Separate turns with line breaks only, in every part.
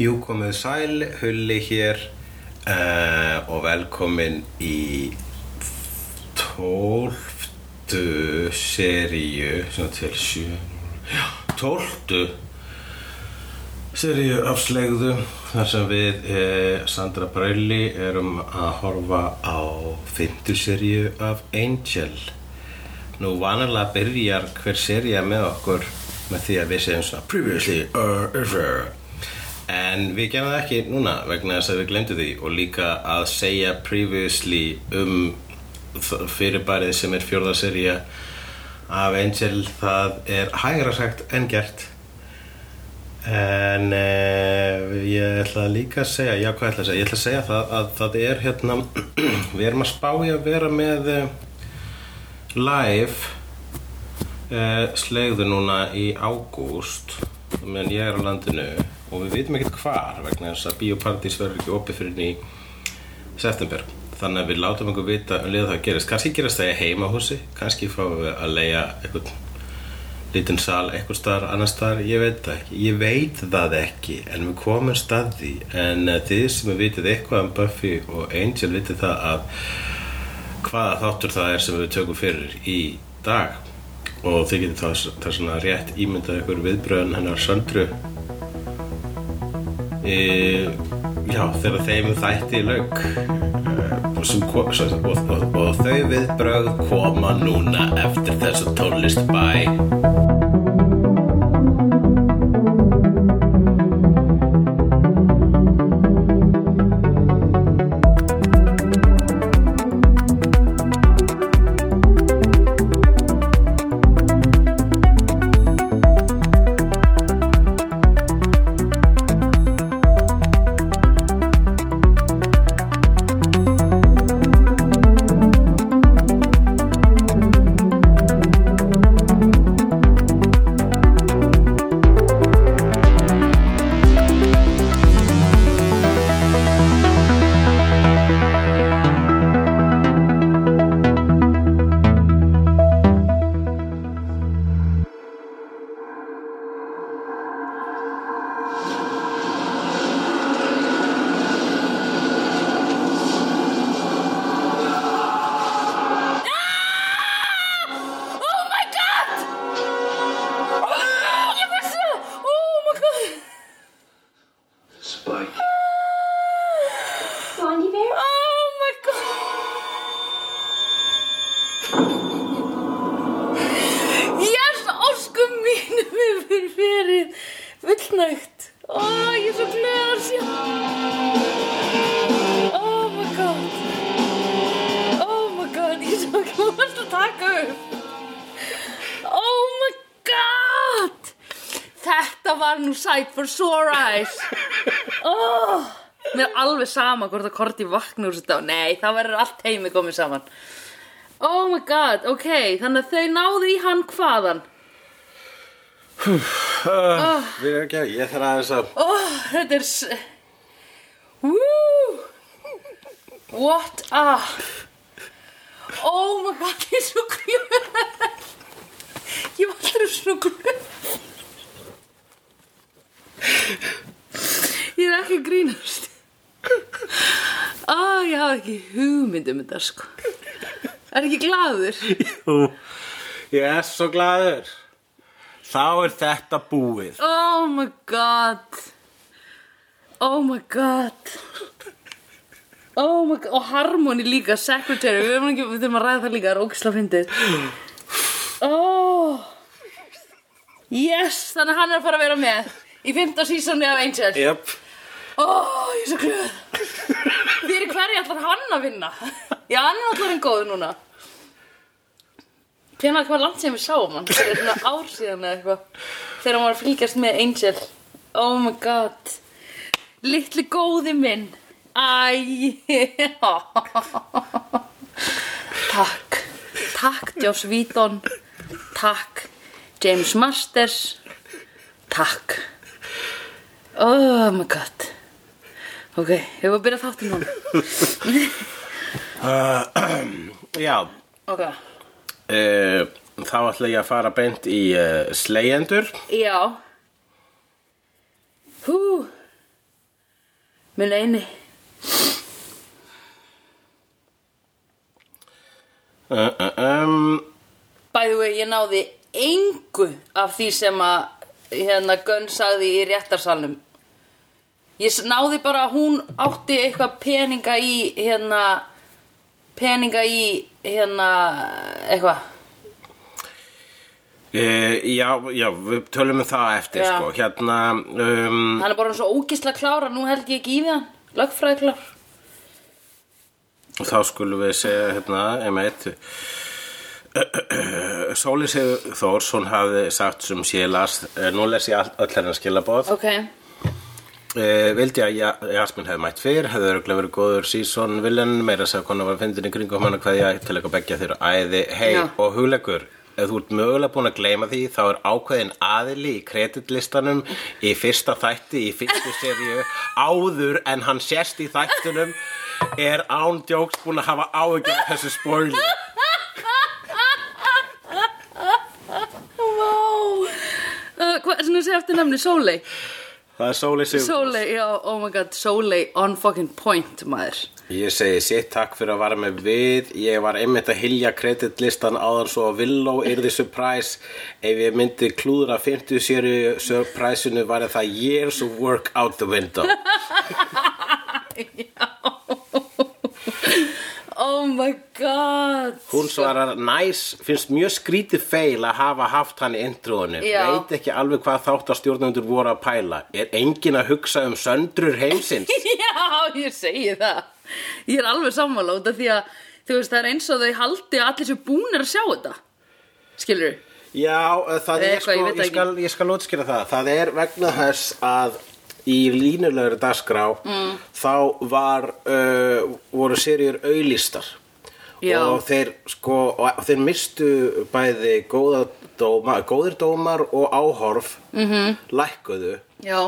Jú komið sæl, Hulli hér uh, og velkomin í tólftu seríu, svona til sjö, já, tólftu seríu af slegðu þar sem við eh, Sandra Brauli erum að horfa á fymtu seríu af Angel. Nú vanalega byrjar hver sería með okkur með því að við segjum svona Previously, uh, uh, En við gerum það ekki núna vegna þess að við glemdu því og líka að segja previously um þ- fyrirbærið sem er fjórða sería af Angel það er hægra sagt en gert en uh, ég ætla líka að segja já hvað ætla ég að segja, ég ætla að segja það að það er hérna við erum að spá í að vera með uh, live uh, slegðu núna í ágúst meðan ég er á landinu og við vitum ekkert hvar vegna þess að biopartís verður ekki opið fyrir ný september þannig að við látum okkur vita um liða það gerist kannski gerast það í heimahúsi kannski fáum við að leia eitthvað lítinn sal eitthvað staðar annars staðar ég veit það ekki, ég veit það ekki en við komum stað því en eh, þið sem við vitið eitthvað um Buffy og Angel vitið það að hvaða þáttur það er sem við tökum fyrir í dag og þið getur það, það svona rétt ímyndað ykkur viðbröðun hennar söndru e, já, þegar þeim þætti í lauk Eh, og, sem kom, sem, og, og, og þau viðbröð koma núna eftir þessu tónlist bæ
Oh my god! Oh, ég vissi það! Oh my god!
Spike.
Blondie Bear?
Oh my god! Yes, óskum mínum hefur verið fullnægt. Ó, oh, ég er svo gleð að sjá. Oh my god. Oh my god, ég er svo gleð að taka upp. Oh my god. Þetta var nú sight for sore eyes. Oh, mér er alveg sama hvort að Korti vakna úr þetta Nei, það verður allt heimi komið saman Oh my god, ok Þannig að þau náðu í hann hvaðan
Ah, Við erum ekki að, ég þarf aðeins að
Oh, þetta er s- Woo What a Oh my god, ég er svo glöð Ég var alltaf svo glöð Ég er ekki að grínast Á, ég hafa ekki hugmynd um þetta sko Er ekki glaður?
Ú, Ég er svo glaður Þá er þetta búið
Oh my god Oh my god Oh my god Og Harmony líka, Secretary Við erum ekki, við þurfum að ræða það líka, það er ógisla fyndið Oh Yes, þannig að hann er að fara að vera með Í 15. sísóni af Angel
Jöp
Ó, ég er svo glöð Fyrir hverju ætlar hann að vinna? Já, hann er allar en góð núna Hvernig hvað langt sem við sáum hann Það er svona ár síðan eða eitthvað Þegar hann var að fylgjast með Angel Oh my god Littli góði minn Æ Takk Takk Joss Víton Takk James Masters Takk Oh my god Ok, ég var að byrja þáttinn hún
Já,
Ok
uh, þá ætla ég að fara beint í eh, uh, slegjendur
Já Hú minn eini
Uh, uh, um,
By the way, ég náði engu af því sem að hérna Gunn sagði í réttarsalnum. Ég s- náði bara að hún átti eitthvað peninga í hérna peninga í hérna eitthvað.
Uh, já, já, við tölum um það eftir
Já.
sko, hérna um,
Hann er bara svo ógisla klára, nú held ég ekki í við hann. Lögfræði klár.
og þá skulum við segja hérna, emeit Sóli Sigur Þórsson hafði sagt sem sé las, eh, nú les ég all, öll hennar skilabóð
Ok.
Eh, vildi að Ja- Jasmín hefði mætt fyrr, hefði örgulega verið góður sísón viljan, meira að segja konar var fyndin í kringum hann og kveðja til eitthvað begja þeirra æði, hei
Já.
og hugleikur. Ef þú ert mögulega búin að gleyma því, þá er ákveðin aðili í kreditlistanum í fyrsta þætti, í fyrstu seríu, áður en hann sérst í þættunum, er án djóks búin að hafa áhyggjur af þessu spoilu.
Wow. Uh, hvað er svona sér eftir nefni? Sólei?
Það er Sóli Sigur.
Sólei, já, oh my god, Sólei on fucking point, maður.
Ég segi sitt takk fyrir að vara með við Ég var einmitt að hilja kreditlistan áðan svo að Villó yrði surprise Ef ég myndi klúðra 50 séri surprise-inu var það years of work out the window
Oh my god
Hún svarar nice, finnst mjög skrítið feil að hafa haft hann í introinu
Já.
Veit ekki alveg hvað þáttastjórnundur voru að pæla Er engin að hugsa um söndur heimsins?
Já, ég segi það Ég er alveg sammála út af því að þú veist, það er eins og þau haldi að allir séu búnir að sjá þetta Skilur
Já, eh, það er
Eða
sko,
eitthvað, ég veit
ég,
það ekki.
skal, ég skal útskýra það Það er vegna þess að í línulegur dagskrá mm. þá var uh, voru serjur auðlistar
Já.
og þeir sko og þeir mistu bæði góða dóma, góðir dómar og áhorf
Mhm.
-hmm. lækkuðu
Já,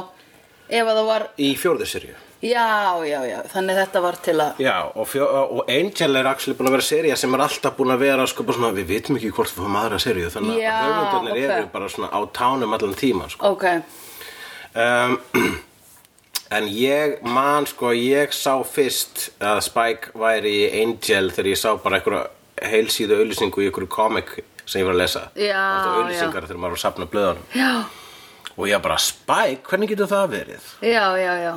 ef að það var
í fjórðu serju
Já, já, já, þannig þetta var til að
Já, og, fjó, og Angel er actually búin að vera serja sem er alltaf búin að vera sko bara svona, við vitum ekki hvort við fáum aðra serju þannig
Já,
að höfundarnir
ok.
eru bara svona á tánum allan tíma sko.
Ok,
um, En ég man sko Ég sá fyrst að Spike væri í Angel þegar ég sá bara einhverja heilsíðu auðlýsingu í einhverju komik sem ég var að lesa
Já,
Alltaf auðlýsingar þegar maður var að safna blöðunum
já,
Og ég bara, Spike, hvernig getur það verið?
já, já, já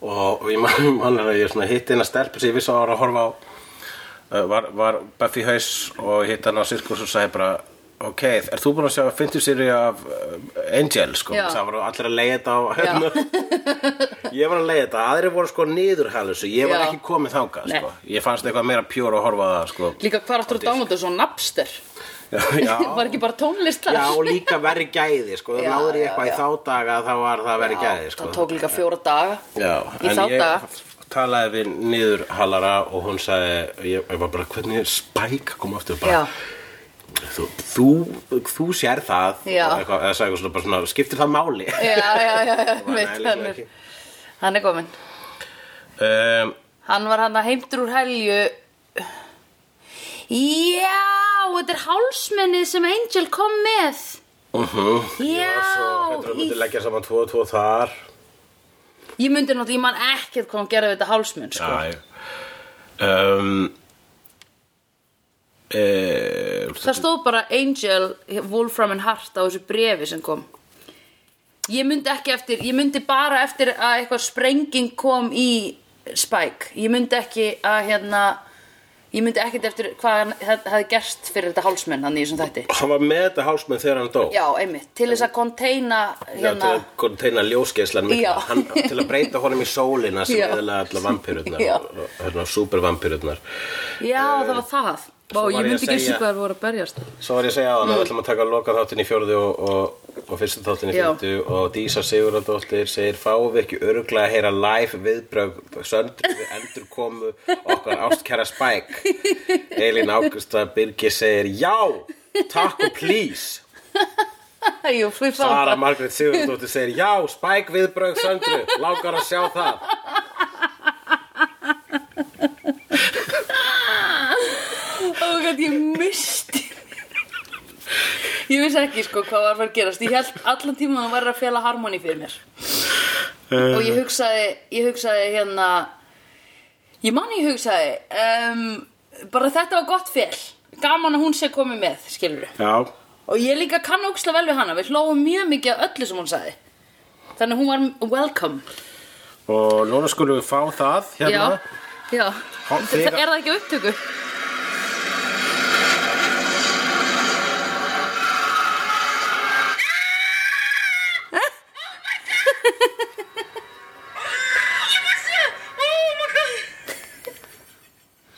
og ég man, man er að ég svona hitti hennar stelpu sem ég vissi að var að horfa á uh, var, var Buffy haus og hitti hennar á sirkus og sagði bara ok, er þú búin að sjá 50 seri af uh, Angel sko,
Já.
það voru allir að leiða þetta á hérna ég var að leiða þetta, aðrir voru sko niðurhælusu, ég var
Já.
ekki komið þangað
Nei.
sko. ég fannst eitthvað meira pjór að horfa á það sko.
Líka hvar áttur að dánlóta svo napster
já, já.
Var ekki bara tónlist þar
Já, og líka verri gæði, sko,
Já,
náður ég
já,
eitthvað
já.
í þá daga þá var það verri gæði, sko.
Það tók líka fjóra daga
Já,
Í þá
en ég
daga.
talaði við niður hallara og hún sagði, ég, ég var bara, hvernig er Spike kom aftur bara,
Já,
þú, þú, þú sér það,
Já.
og eitthvað, eða sagði eitthvað svona, bara svona, skiptir það máli?
já, já, já, já,
Ég bara,
mitt
"Nei,
hann
líklega
er Hann er kominn
ekki." Um,
Hann var hann að heimtur úr helju Já, þetta er hálsmennið sem Angel kom með
mhm.
Já,
Ég var svo, hættur að
í-
myndi leggja saman tvo og tvo þar.
Ég myndi náttúrulega, ég man ekkert hvað hann gerði við þetta hálsmenn sko.
Æ. Um, e,
Það stóð bara Angel, Wolfram and Hart á þessu brefi sem kom Ég myndi ekki eftir, ég myndi bara eftir að eitthvað sprenging kom í Spike Ég myndi ekki að hérna Ég myndi ekkert eftir hvað hann hef- hefði gerst fyrir þetta hálsmenn hann í þessum þætti
hann var með þetta hálsmenn þegar hann dó.
Já, einmitt, til þess að containa
Já, til
hérna
að konteina ljósgeislan mikla,
Já.
hann, til að breyta honum í sólina sem
Já.
eðla allar vampirurnar,
Já.
hérna, supervampirurnar.
Já, það var það. Vá,
Eh, var
ég
ég að
myndi ekki
segja-
segja... hvað það voru að berjast.
Svo var ég að segja á
Mm.
hann, við ætlum að taka loka þáttin í fjörðu og, og, og fyrstu þáttin í
Já.
fjörðu og Dísa Sigurðardóttir segir, fáum við ekki öruglega að heyra live viðbrögg söndru við endur komu okkar ástkæra spæk. Elín Águsta Birgir segir, já, takk og please.
Jú, við fáum
Sara
það.
Margrét Sigurðardóttir segir, já, spæk viðbrögg söndru, langar að sjá það.
Ó, gæt, ég misti. ég vissi ekki, sko, hvað var að fara að gerast. Ég held allan tíma að hann var að fjala harmoni fyrir mér. og
Eh.
ég hugsaði, ég hugsaði hérna ég manni ég hugsaði um, bara þetta var gott fél gaman að hún sé komið með, skilur
Já,
og ég líka kann ógislega vel við hana við hlóðum mjög mikið að öllu sem hún sagði þannig að hún var welcome
og núna skulum við fá það hérna.
já, já.
Há-
Þa,
þegar-
er það ekki á upptöku?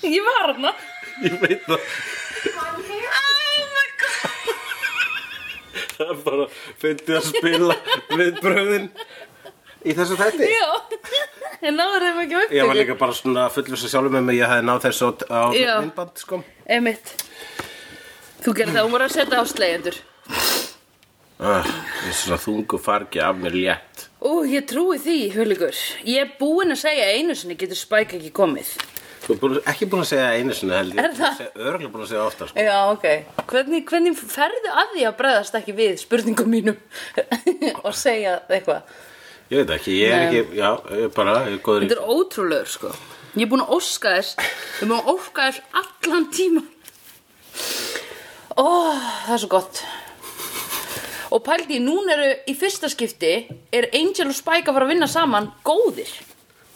Ég var hana
Ég veit það, það er bara fyndið að spila við bröðin í þessu þætti.
Já Ég náður þeim ekki á upptöku
Ég var líka bara svona fullur sem sjálfum með mig, ég hefði náð þessu á- á
Já.
myndband, sko.
Einmitt Þú gerði það, hún var að setja á slegjendur
Ah, ég er svona þungu fargi af mér létt.
Ú, ég trúi því, Hulgur. Ég er búin að segja einu sinni getur Spike ekki komið.
Þú er búin, ekki búin að segja einu sinni held ég.
Er það?
Örgulega búin að segja ofta, sko.
Já, ok. Hvernig, hvernig ferðu að því að bregðast ekki við spurningum mínum og segja eitthvað?
Ég veit ekki, ég er
Nei.
ekki, já, ég er bara, ég er góður í.
Þetta er ótrúlegur, sko. Ég er búin að óska þess, ég er búin að óska þess allan tíma. Ó, það er svo gott. Og pældi, núna eru í fyrsta skipti, er Angel og Spike að fara að vinna saman góðir.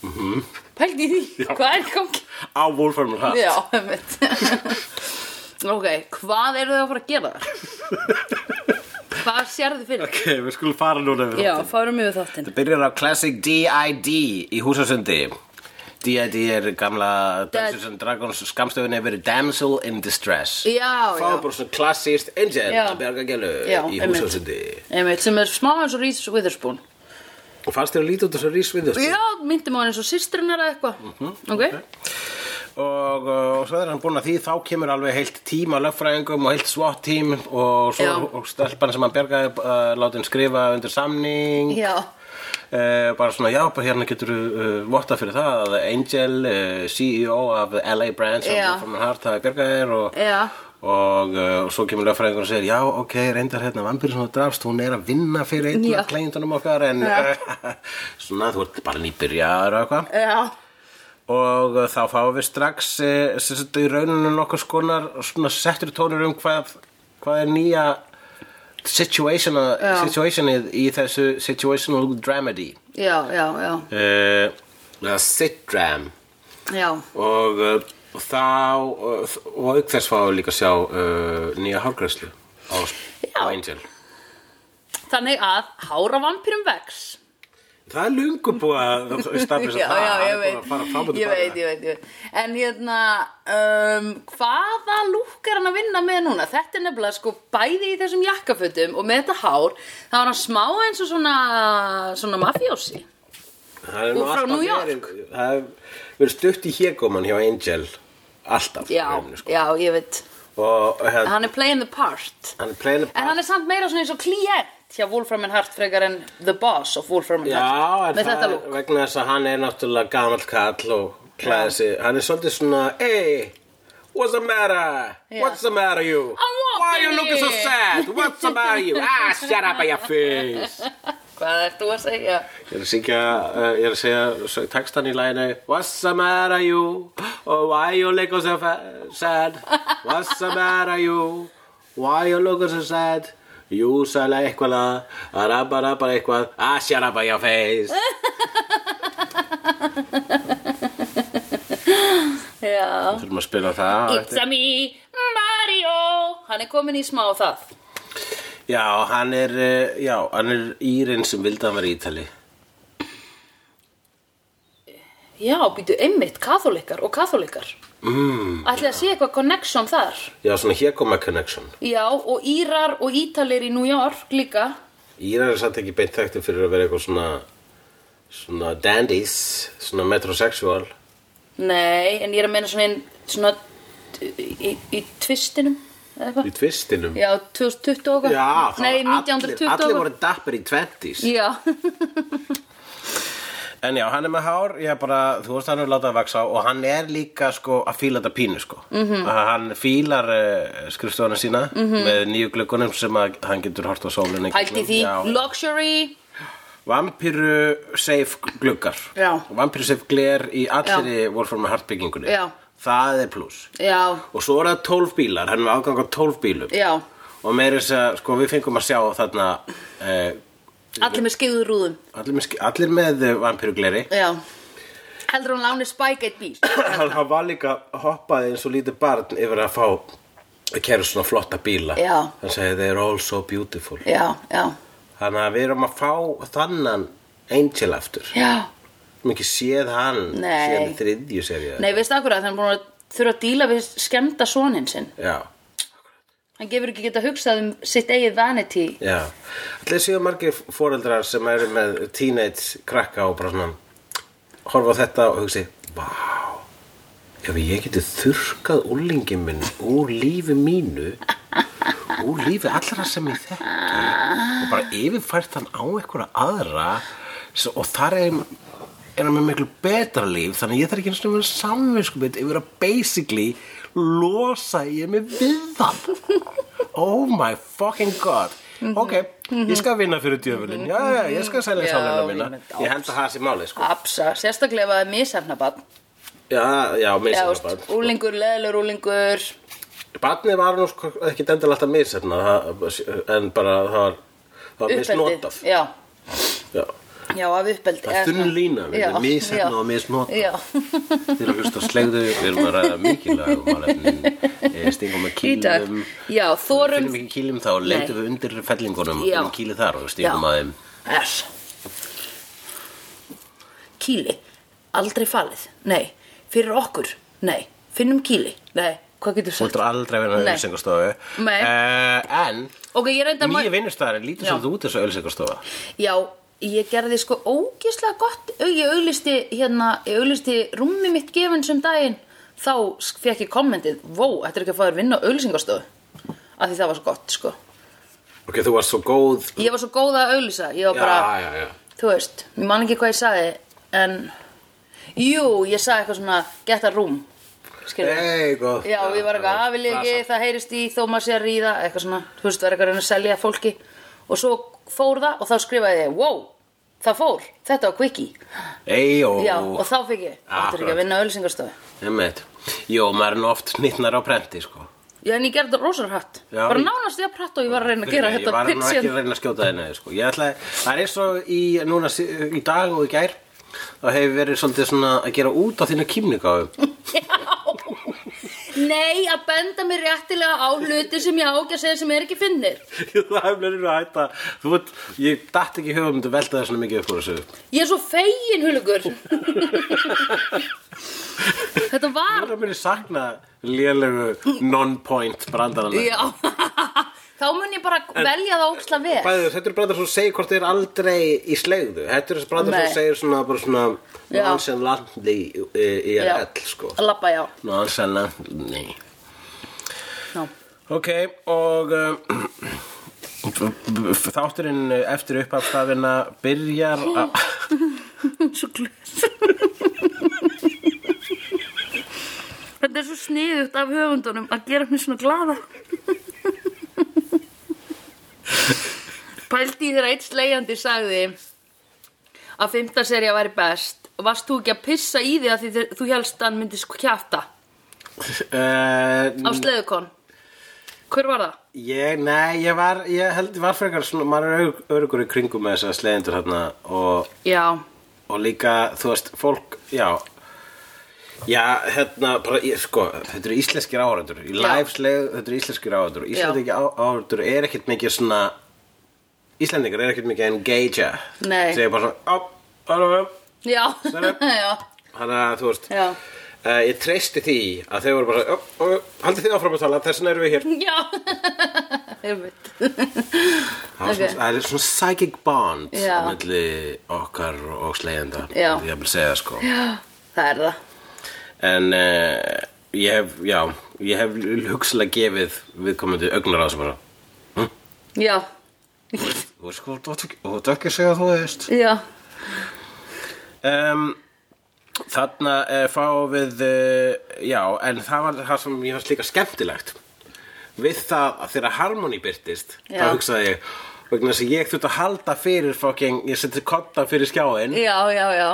Mhm.
Pældi í því, hvað er í gangi?
Á Wolfram Hatt.
Já, einmitt Ok, hvað eru þau að fara að gera þar? Hvað sérðu fyrir?
Ok, við skulum fara núna yfir
Já,
þáttinn.
fárum við þáttinn
Það byrjar á Classic D.I.D. í Húsasundi. D.I.D. er gamla Dungeons and Dragons skamstöðun hefur verið Damsel in Distress.
Já,
Fáðu
já
bara svona klassíst Angel
Já.
að berga gælu
Já,
í
einmitt.
Húsasundi.
Einmitt, sem er smá eins og Reese Witherspoon
Og fannst þér að líta út þess að rís við þessu?
Já, myndum á hann eins og systrin er eitthvað
Mhm,
Ok,
Og, uh, og svo er hann búinn að því þá kemur alveg heilt tím af lögfræðingum og heilt SWAT tím og svo
Já.
og stelpan sem hann bergaði uh, látin skrifa undir samning
já
Uh, bara svona, já, bara hérna getur uh, votta fyrir það að Angel, uh, CEO af LA Brands og
Já.
Wolfram Hart hafi bjargað þér og,
Já.
og, uh, og svo kemur lögfræðingur og segir, já, ok, reyndar hérna vampir sem þú drafst, hún er að vinna fyrir einn
Já.
af kleintunum okkar en svona, þú ert bara nýbyrjaður og eitthvað
Já,
og uh, þá fáum við strax uh, sem sagt, í rauninu nokkuð skonar svona settur tónur um hvað, hvað er nýja situation
Já.
situationið í þessu situational dramedy
já, já, já,
uh, eða sitram
já.
og uh, þá uh, og auk þess fáum við líka að sjá uh, nýja hárgræslu á, á Angel
Þannig að hára vampýrum vex
það er lungu búið að staflis
Já,
að það
já,
það
ég
er búið að fara fram og
veit Ég
tilbaka.
veit, ég veit, ég veit En hérna, um, hvaða lúk er hann að vinna með núna? Þetta er nefnilega sko bæði í þessum jakkafötum og með þetta hár Það var hann smá eins og svona, svona mafjósi
það er nú
Og frá
alltaf
New York.
verið- það er verið stutt í hégóman hjá Angel alltaf
Já,
rauninni, sko.
já, ég veit
og hérna,
Hann er playing the part
hann er playin
En hann er samt meira svona eins og klient hjá Wolfram and Hart frekar en the boss of Wolfram and
já,
Hart
en
Með
það
þetta
er
lúk
vegna þess að hann er náttúrulega gamall kall og klæði sig hann er svolítið svona hey, what's the matter,
Já.
what's the matter you
I'm walking
why you looking so
here."
sad, what's the matter you ah, shut up on your face
Hvað ert þú að segja?
ég er að syngja, uh, ég er að segja sög- textan í læginu what's the matter you oh, why you looking so fa- sad what's the matter you why you looking so sad you sæla eitthvað að rabba rabba eitthvað ah, shut up on your face
Já
þurfum að spila það
It's a me, Mario Hann er komin í smá það
já, hann er, eh, já, hann er írinn sem vildi að hann vera í Ítali
Já, býtu einmitt, katholikar og katholikar mm, Ætli að sé eitthvað connection þar
já, svona hér koma connection
Já, og Írar og Ítalir í New York líka
Írar er satt ekki beint þekktu fyrir að vera eitthvað svona svona dandies svona metrosexual
Nei, en ég er að meina svona, ein- svona í, í tvistinum eða eitthvað
í tvistinum
Já, 2020 og eitthvað
Já, það
Nei,
var
1920
allir,
og
allir
eitthvað.
voru dappir í 20s
Já,
En já, hann er með hár, ég bara, þú veist hann er látað að vaksa á og hann er líka sko að fíla þetta pínu sko
Mhm.
-hmm. Hann fílar uh, skrifstofuna sína með nýju glöggunum sem að hann getur hort á sólinni
pælti í því
Já,
Luxury
vampiru safe gluggar
Já.
vampiru safe gler í allri Warforma hartbyggingunni
Já.
það er pluss
já,
og svo er það 12 bílar, hann er með afgang á 12 bílum
já,
og meira þess að sko, við fengum að sjá þarna eh,
allir með skeiður rúðum,
allir með, sk- allir með eh, vampiru gleri
já. Heldur hún láni Spike eitt bíl?
hann, hann var líka hoppaði eins og lítið barn yfir að fá að kæra svona flotta bíla
Já.
hann segi they are all so beautiful
Já, já,
þannig að við erum að fá þannan Angel aftur
já.
við erum ekki séð hann
Nei.
séð þriðju seríu
Nei, veistu akkur að það er búin að þurfa að díla við skemmta sonin sinn.
já,
Hann gefur ekki geta hugsað um sitt eigið vanity.
já allir séu margir foreldrar sem eru með teenage krakka og bara svona horfa á þetta og hugsi vá ef ég geti þurkað úlingin minn úr lífi mínu úr lífi allra sem ég þekki og bara yfirfært hann á einhverja aðra s- og þar er, er hann með miklu betra líf þannig að ég þarf ekki eins og vera samvinskupið yfir að basically losa ég mig við það oh my fucking god ok, ég skal vinna fyrir djöfulin já, já, ég skal selja
Mhm. Já,
sálina
ég
mína
myndi
ég hend að það sé máli sko.
Absa, sérstaklega ef það er misefnabann.
já, já,
Já,
misjafna barn,
veist,
sko.
úlingur, leðlur úlingur.
Barnið var nú sko ekki endilega alltaf misefna það- en bara það var, það var misnotað
Já,
Já.
já, af uppeldi.
Það er þunn lína, við erum misheppnað og misnotað.
Já,
Þeir eru að hlusta á slegðu, við erum að ræða mikilvæg málefnin, stingum með
í dag.
kýlum
Já, þorum.
finnum ekki kýlum þá leitum við undir fellingunum
Já.
um kýli þar og stingum
Já.
að þeim
Æs. Kýli. Aldrei falið. Nei. Fyrir okkur. Nei. Finnum kýli. Nei. Hvað getur
Þú
sagt?
ert aldrei að vera
Nei.
ölsengastofu
Nei.
En
Ok, ég reyndar má-
nýja vinnustæðar er lítið
Já.
sem þú út þessu ölsengastofa
Já, ég gerði sko ógislega gott. Au, Ég auglisti hérna, ég auglisti rúmi mitt gefin sem daginn. Þá sk- fekk ég kommentið, vó, þetta er ekki að fá þér vinna á auglisingastöðu. Af því það var svo gott, sko.
Ok, þú varst svo góð
Ég var svo góð að auglisa. Ég var
Já,
bara...
já, já
þú veist, ég man ekki hvað ég sagði en jú, ég sagði eitthvað svona get a room skilur
Nei, góð
já, ég var eitthvað að vil ég ekki, það heyrist í þó maður sé að ríða, eitthvað svona, þú veist, var eitthvað að reyna að selja fólki og svo fór það og þá skrifaði ég, wow, það fór þetta var quickie,
Ei, ó Ah,
já, og þá fikk ég þetta er ekki
Akkurat.
að vinna ölsingarstofu
Einmitt. Jó, maður er nú oft nýttnar á prenti, sko.
já, en ég gerði þetta rosarhatt
Já,
bara
ég-
nánast ég að prata og ég var að reyna að gera
Ég
þetta
var nú ekki
pitchin
að reyna að skjóta þið neði, sko. Ég ætlaði, það er eins og í, núna, sí- í dag og í gær, þá hefur verið svolítið svona að gera út á þína kýmningáðu.
nei, að benda mér réttilega á hluti sem ég á ekki að segja sem er ekki finnir
það hefur verið að hætta, þú veit, ég datt ekki í hugum að velta það svona mikið upp úr þessu.
Ég er svo fegin, Hulugur. Þetta
Það
var...
er að mér sakna lélegu non-point brandarana.
Já. Þá mun ég bara velja það óksla vel.
Bæði, þetta eru brandar sem þú segir hvort þeir aldrei í slegðu. Þetta eru brandar sem
Nei.
þú segir svona, bara svona,
Já.
nonsenlandli í, í, í
Já.
RL, sko.
Að labba, já.
Nonsenlandli.
Ná.
Ok, og uh, þátturinn eftir upphafstafina byrjar að...
Svo glöð. Þetta er svo sniðugt af höfundunum að gera mér svona glada. Pældi í þér eitt slegjandi sagði að fymta serja væri best. Varst þú ekki að pissa í því að því þú helst að hann myndi sko kjafta? á
Uh,
sleðukon hver var það?
ég, nei, ég var, ég held, ég var frekar svona, maður er örug- örugur í kringum með þessa sleðendur þarna og,
já,
og líka, þú veist, fólk, já, já, hérna, bara, ég, sko, þetta eru íslenskir áhörundur, í
Já.
live sleðu, þetta eru íslenskir áhörundur,
Já.
íslenskir áhörundur er ekkert mikið svona, íslendingar er ekkert mikið að engagea,
Nei.
segja bara svona, á, alveg, alveg,
já,
Sverre?
já.
Þannig að þú veist
Já.
eh, Ég treysti því að þau voru bara "Ó, ó, Haldið þið áfram að tala, þess vegna erum við hér
já. einmitt.
Það var
Ok.
svona- það er svona psychic bond
Já.
Melli okkar og slegjenda
Já.
Ég vil segja sko
það er það
En uh, ég hef, já Ég hef hugsalega gefið viðkomandi augnar á þessu bara
já,
Þú veist sko, þú átt ekki- þú átt ekki að segja að þú veist
já,
um, Þarna uh, fáum við uh, Já, en það var það sem ég fannst líka skemmtilegt Við það að þegar Harmony byrtist
Já.
þá hugsaði ég vegna þess að ég þurft að halda fyrir fucking, ég seti kotta fyrir skjáin
já, já, já,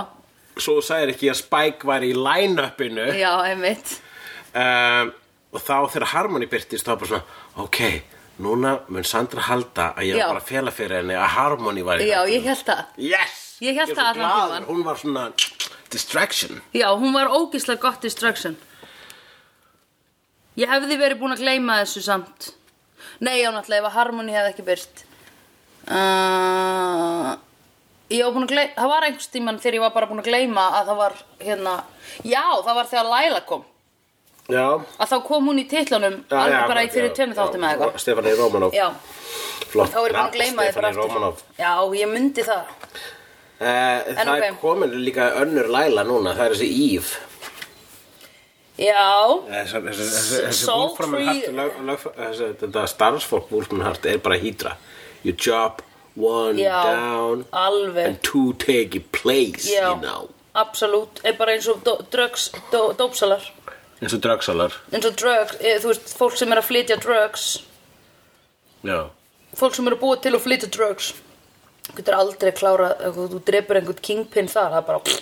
svo þú sagðir ekki að Spike var í line-upinu
já, einmitt
um, og þá þegar Harmony byrtist þá var bara svona ok, núna mun Sandra halda að ég
Já.
var bara að fela fyrir henni að Harmony var í
Já,
þættinum.
ég held það
yes,
Ég hélt
er svo
það allan
glaður.
tímann.
hún var svona distraction
Já, hún var ógislega gott distraction Ég hefði verið búin að gleyma þessu samt Nei, já, náttúrulega, ef að Harmony hefði ekki byrst uh, Ég var búin að gleyma Það var einhvers tímann þegar ég var bara búin að gleyma að það var, hérna Já, það var þegar Laila kom
já,
að þá kom hún í titlanum alveg bara í fyrir tveimur þáttum eða eitthvað
Stefani Romanov
Já,
Flott,
þá er ég búin að gleyma því bara
Stefani Romanov
aftur Já, ég myndi það
uh, Það
ok.
er komin líka önnur læla núna, það er þessi Íf
Já,
Þessi, þessi, þessi, þessi
Soul
Wolframhart
Tree-
lög- lög- þessi- Þetta starfsfólk Wolframhart er bara hýdra Your job, one
já,
down
alveg
and two take your place
Já,
you know
absolút, er bara eins og do, drugs, do, dópsalar
eins og dragsalar
eins og drugs, e, þú veist, fólk sem er að flytja drugs
já,
fólk sem er að búa til að flytja drugs þú getur aldrei klára þú drepur einhvern kingpin þar það er bara,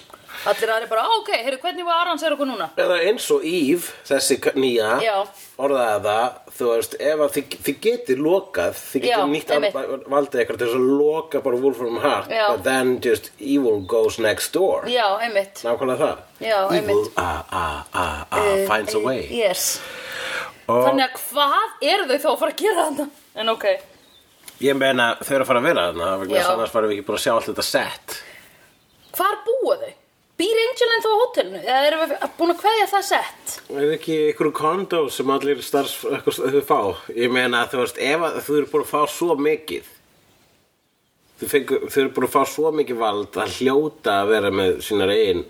allir aðri bara, "Á, ok, heyrðu, hvernig var Arans er okkur núna?
eða eins og Íf þessi k- nýja
Já.
orðaði það þú veist, ef að þið, þið getið lokað þið
Já,
getið nýtt
einmitt.
að- valdið eitthvað til þess að loka bara Wolframhart
Já.
but then just evil goes next door
Já, einmitt
nákvæmlega það
Já,
evil
einmitt.
uh, uh, uh, uh, finds a way
Eh, Yes
og
Þannig að hvað eru þau þá að fara að gera þarna? En ok,
ég meina þau eru að fara að vera þarna vegna
Já.
þess að annars varum við ekki búin að sjá allt þetta sett
hvar búa þau? Býr Angelin þá á hótelinu? Eða erum við búin að kveðja það sett?
Er ekki einhverjum kondó sem allir starfs eitthvað þau fá? Ég meina þú veist, ef að þú eru búin að fá svo mikið þú, fengu, þú eru búin að fá svo mikið vald að hljóta að vera með sínar eigin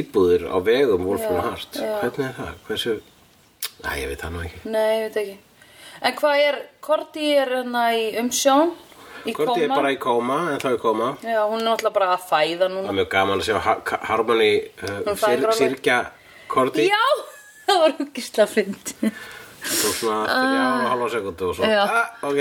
íbúðir á vegum Wolfram
Já,
Hart
já.
Hvernig er það? Hversu? Æ, ég veit það nú ekki
Nei, ég veit ekki En hvað er, Korti er hérna í umsjón Í
Korti er
koma
bara í kóma, en þá í kóma
Já, hún er náttúrulega bara að fæða
Það
núna
er mjög gaman að sjá Ha- Ka- Harmony uh,
Hún fæðir alveg.
sirkja Korti
Já, það var huggislega fynd
og svona þrjá og halva sekundu og svo
Já.
ah, Ok,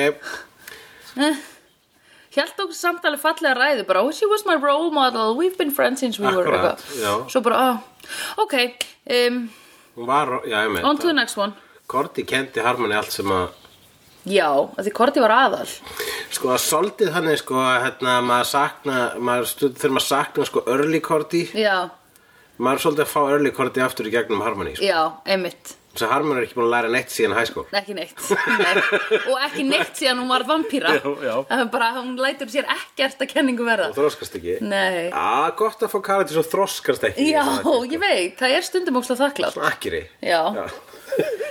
Hjælt okkur samtali fallega ræðu bara oh, She was my role model, we've been friends since we were
Akkurat,
eitthvað.
já.
Svo bara, ah, ok um,
hún var, já ég meina
On to the next one
Korti kendi Harmony allt sem að
Já, af því Korti var aðal
sko að soldið hann er sko að hérna, maður sakna maður stund þegar maður sakna sko early Korti
Já,
maður er svolítið að fá early Korti aftur í gegnum Harmony sko.
já, einmitt
þess að Harmony er ekki búin að læra neitt síðan high school
Ekki neitt Nei. Og ekki neitt síðan hún var vampíra
Já, já.
Það er bara, hún lætur sér ekkert að kenningu verða
og þroskast ekki
Nei
að gott að fá karakter sem þroskast ekki
Já, ég veit, það er stundum ókslega þakklátt
akkiri
Já,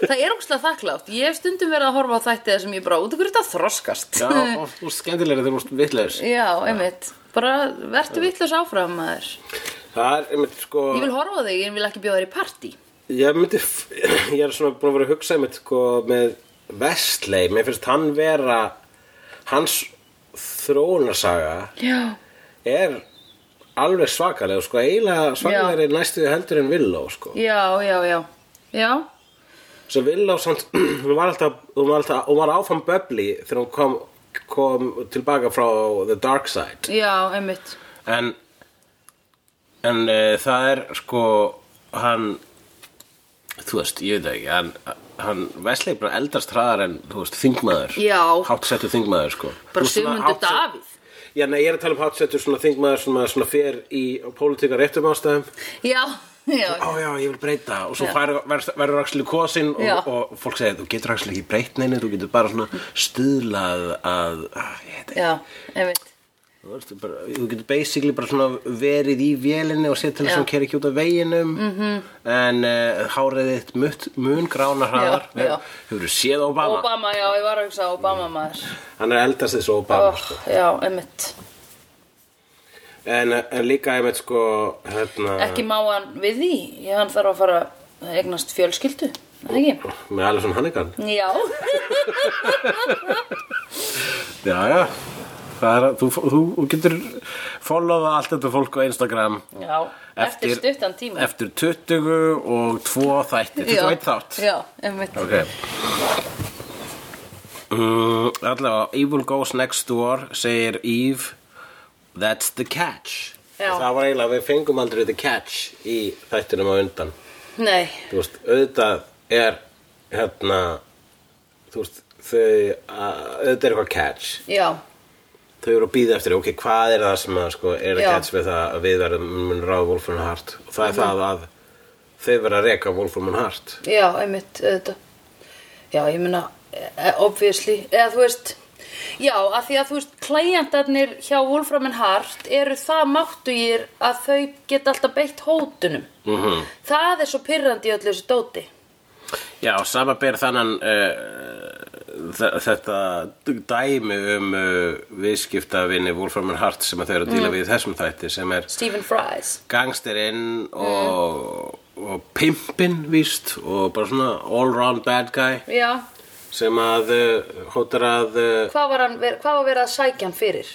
það er ókslega þakklátt Ég hef stundum verið að horfa á þætti þar sem ég bara út og hverju þetta þroskast
já og þú ert skemmtilegri þegar þú ert vitlegur
Já, einmitt Bara vertu vitlaus áfram maður
það er, ég myndi sko
Ég vil horfa á þig, ég vil ekki bjóða þér í partí
ég myndi f- ég er svona búin að vera að hugsa einmitt sko með Vestley mér finnst hann vera hans þróunarsaga
Já
er alveg svakalega sko, eiginlega svakalegri næstu því heldur en Villó sko.
Já, já, já Já,
svo Villó samt, hún var alltaf hún var, alltaf, hún var áfram böbli þegar hún kom, kom tilbaka frá The Dark Side
já, einmitt
en, en uh, það er sko hann þú veist, ég veit það ekki hann, hann Wesley er bara eldast hraðar en þú veist, þingmaður,
Já.
háttsettu þingmaður sko. Þú
Bara
veist, svona
Sigmundur
háttset-
Davíð
Já, nei, ég er að tala um háttsettur svona þingmaður sem að svona fer í pólitíkar réttum ástæðum
Já, já,
á já, ég vil breyta og svo
Já.
fær, verður, verður axli kosin
Já.
og, og fólk segir, þú getur axli ekki breytt neina þú getur bara svona stuðlað að, að ég heit
já, einmitt
þú, veist, þú bara, þú getur basically bara svona verið í vélinni og sér til
Já. Mhm.
þess að hún keri ekki út af veginum mm -hmm. en uh, hárið þitt mutt, mun grána hraðar
Já, já.
hefur séð Obama,
Obama, já, ég var að hugsa Obama maður
hann er eldast þessu Obama
oh, Já, einmitt
en, en líka ég veit sko hérna,
Ekki má hann við því Já, hann þarf að fara að eignast fjölskyldu er það Ekki?
með Alison Hannigan
Já,
já, já Það er, að- þú, þú, þú getur followa allt þetta fólk á Instagram
já Eftir, stuttan tíma
eftir 20 og 2 þætti
Já.
21 þátt
Já, einmitt
ok Mm, allavega, Evil Goes Next Door segir Eve That's the catch
Já.
Og Það var eiginlega, við fengum aldrei the catch í þættinum á undan
Nei,
Þú veist, auðvitað er hérna Þú veist, þau að, auðvitað er eitthvað catch
já,
Þau eru að býða eftir, ok, hvað er það sem að, sko, er að
Já. Mhm.
catch við það að við verðum mun ráða Wolfram Hart og það er það að þau verða að reka Wolfram Hart
já, einmitt, auðvitað. Já, ég meina, eh, obviously, eða þú veist, já, að því að þú veist, klæjandarnir hjá Wolfram and Hart eru það máttugir að þau geta alltaf beitt hótunum.
Mhm.
-hmm. Það er svo pyrrandi í öllu þessu dóti.
Já, sama ber þannan uh, þetta dæmi um uh, viðskiptavinni Wolfram and Hart sem að þau eru að
Mm.
díla við í þessum þætti sem er
Stephen Fries. Mm.
gangsterinn og, og pimpin víst og bara svona all round bad guy
Já,
sem að uh, hótar að uh,
hvað var, hann, ver- hvað var verið að sækja hann fyrir?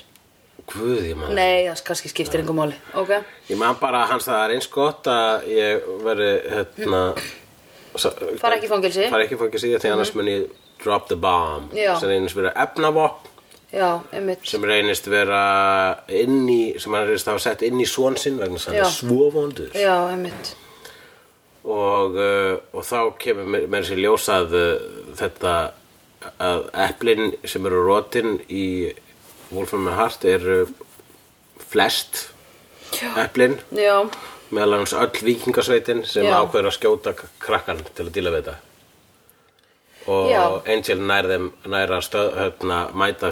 guð ég maður
Nei, það kannski skiptir engum máli, ok?
ég man bara að hans það er eins gott að ég veri hérna
Fara ekki í fangelsi. Mhm.
fara ekki í fangelsi því annars mun ég drop the bomb
Já.
sem einnig sem verið efnavopn
Já, einmitt.
sem reynist vera inn í, sem hann reynist hafa sett inn í svon sinn vegna þess að hann er
Já.
svo vondur
Já, einmitt.
og, uh, og þá kemur með, með þessi ljósað uh, þetta að eplin sem eru rótin í Wolfram and Hart eru flest
Já,
eplin
já,
meðal hans öll vikingasveitin sem
Já.
ákveður að skjóta k- krakkan til að díla við þetta og
Já.
Angel nær þeim nær að stöð, hérna, mæta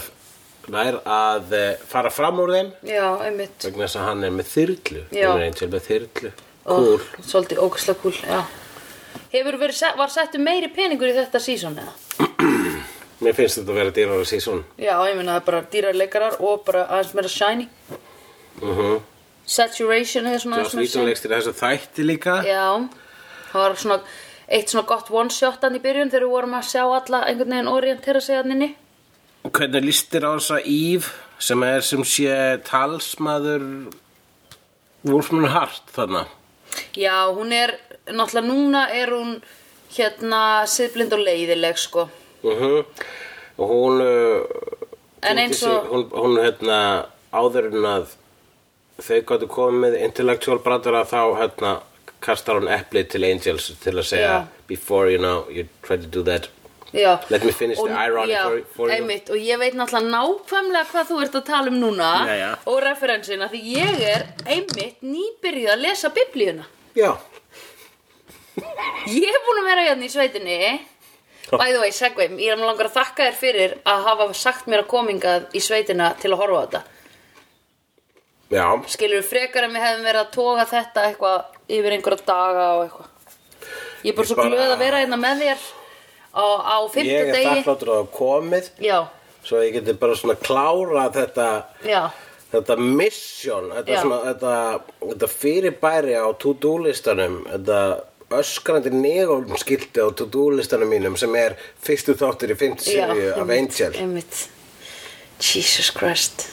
nær að eh, fara fram úr þeim
já, einmitt.
vegna þess að hann er með þyrlu
Já.
hann er eins og með þyrlu
Ó,
cool.
Svolítið ógæslega kúl, já. Hefur verið, sett- var settu meiri peningur í þetta sísón eða?
mér finnst þetta að vera dýrar að sísón
Já, ég meina það er bara dýrarleikarar og bara aðeins meira shiny.
uh -huh.
Saturation eða svona
Joss
aðeins meira
Whedon leikst í þessu þætti líka
Já, það var svona eitt svona gott one shot hann í byrjun þegar við vorum að sjá alla einhvern veginn orientera sig hann inni.
hvernig listir á þessa Eve sem er sem sé talsmaður Wolfman Hart þarna
Já, hún er, náttúrulega núna er hún hérna siðblind og leiðileg sko.
uh -huh. og hún uh,
En
kynnti
eins
sig-
og-
hún, hún hérna áður en að þau gætu komið með intellectual brandara þá hérna kastar hún epli til Angels til að segja
Já.
before you know you try to do that
Já.
Let me finish the irony
já,
for- for you.
Einmitt, og ég veit náttúrulega nákvæmlega hvað þú ert að tala um núna
Jæja.
og referensina því ég er einmitt nýbyrjuð að lesa biblíuna.
já
Ég er búin að vera hérna í sveitinni
Oh.
By the way, segvei, ég er langar að þakka þér fyrir að hafa sagt mér að komingað í sveitina til að horfa á þetta.
já
skilur frekar en við hefðum verið að toga þetta eitthvað yfir einhverja daga og eitthvað ég er bara svo
Ég bara-
glöð að vera hérna með þér á, á
Ég
fymta
er
degi
þakkláttur að það komið
já,
svo ég geti bara svona klára þetta
já,
þetta mission þetta,
Já.
svona, þetta, þetta fyrirbæri á to-do listanum þetta öskrandi negum skilti á to-do listanum mínum sem er fyrstu þáttur í fymtu
já
sériu af
einmitt,
Angel
einmitt. Jesus Christ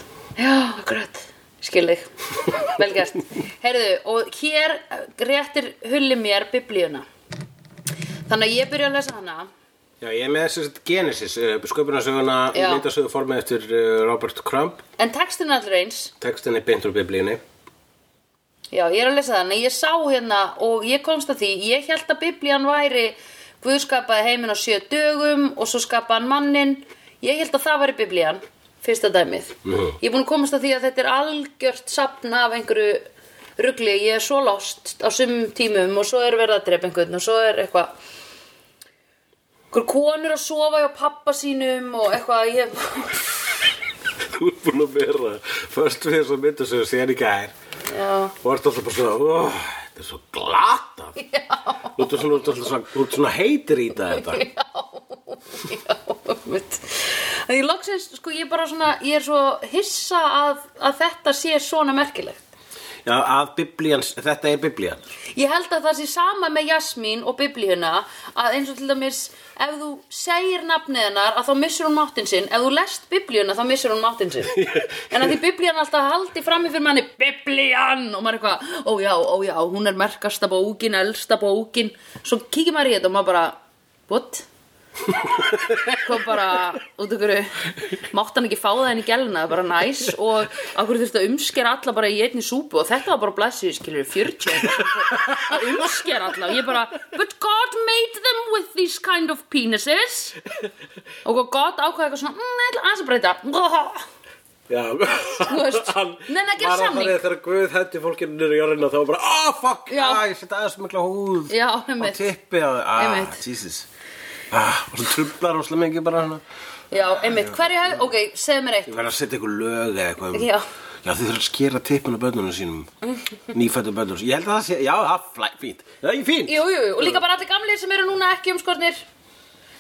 já, akkurat skil þig, velgæst heyrðu, og hér réttir hulli mér biblíuna þannig að ég byrja að lesa hana
Já, ég er með þessi Genesis uh, sköpunarsöguna
Já.
myndasögu formið eftir uh, Robert Crumb
en textin er allur eins
textin er beint úr biblíunni
Já, ég er að lesa þannig, ég sá hérna og ég komst að því, ég held að biblían væri Guð skapaði heiminn á sjö dögum og svo skapaði hann mannin Ég held að það væri biblían, fyrsta dæmið
Mhm.
Ég er búin að komast að því að þetta er algjört sapna af einhverju rugli Ég er svo lost á sumum tímum og svo er verið að drepa einhvern og svo er eitthvað Einhver konur að sofa hjá pappa sínum og eitthvað ég...
Þú er búin að vera först við þessu myndasögu sér í gær
Já,
og ert alltaf bara svona oh, þetta er svo glata þú ert svona, ert alltaf svona, þú ert svona heitir í þetta
Einmitt. Því loksins, sko, ég er bara svona, ég er svo hissa að, að þetta sé svona merkilegt.
já, að biblíans, þetta er biblían
Ég held að það sé sama með Jasmín og biblíuna að eins og til dæmis ef þú segir nafnið hennar að þá missur hún máttinn sinn, ef þú lest biblíuna þá missur hún máttinn sinn. En að því biblían alltaf haldi frammi fyrir manni biblían og maður eitthvað, ó já, ó já, hún er merkasta bókin, elsta bókin, svo kíkir maður í þetta og maður bara, what? kom bara út okkur mátt hann ekki fá það inn í gelna bara næs og okkur þurfti að umskera alla bara í einni súpu og þetta var bara blessið skilur 40 eitthvað. að umskera alla og ég bara but God made them with these kind of penises og God ákvaði eitthvað svona mm, ég ætla aðeins að breyta
Já, þú
veist, nei, nei, gera samning.
Þegar Guð hætti fólkinu niður í jörðina þá var bara, ah, fuck,
Já.
ah, ég setja aðeins mikla húð
Já,
og
einmitt.
tippi á þau, ah,
Einmitt.
Jesus ah, og svo trublar og slum ekki bara hana
já, einmitt, hverju hef, ok, segð mér eitt
ég verð að setja eitthvað lög eða eitthvað um-
Já.
Já, þið þurfum að skera tippin á börnunum sínum nýfættu börnunum sínum, ég held að það sé, já, það er flæ- fínt það er fínt
Jú, jú, jú, og líka bara allir gamlir sem eru núna ekki umskornir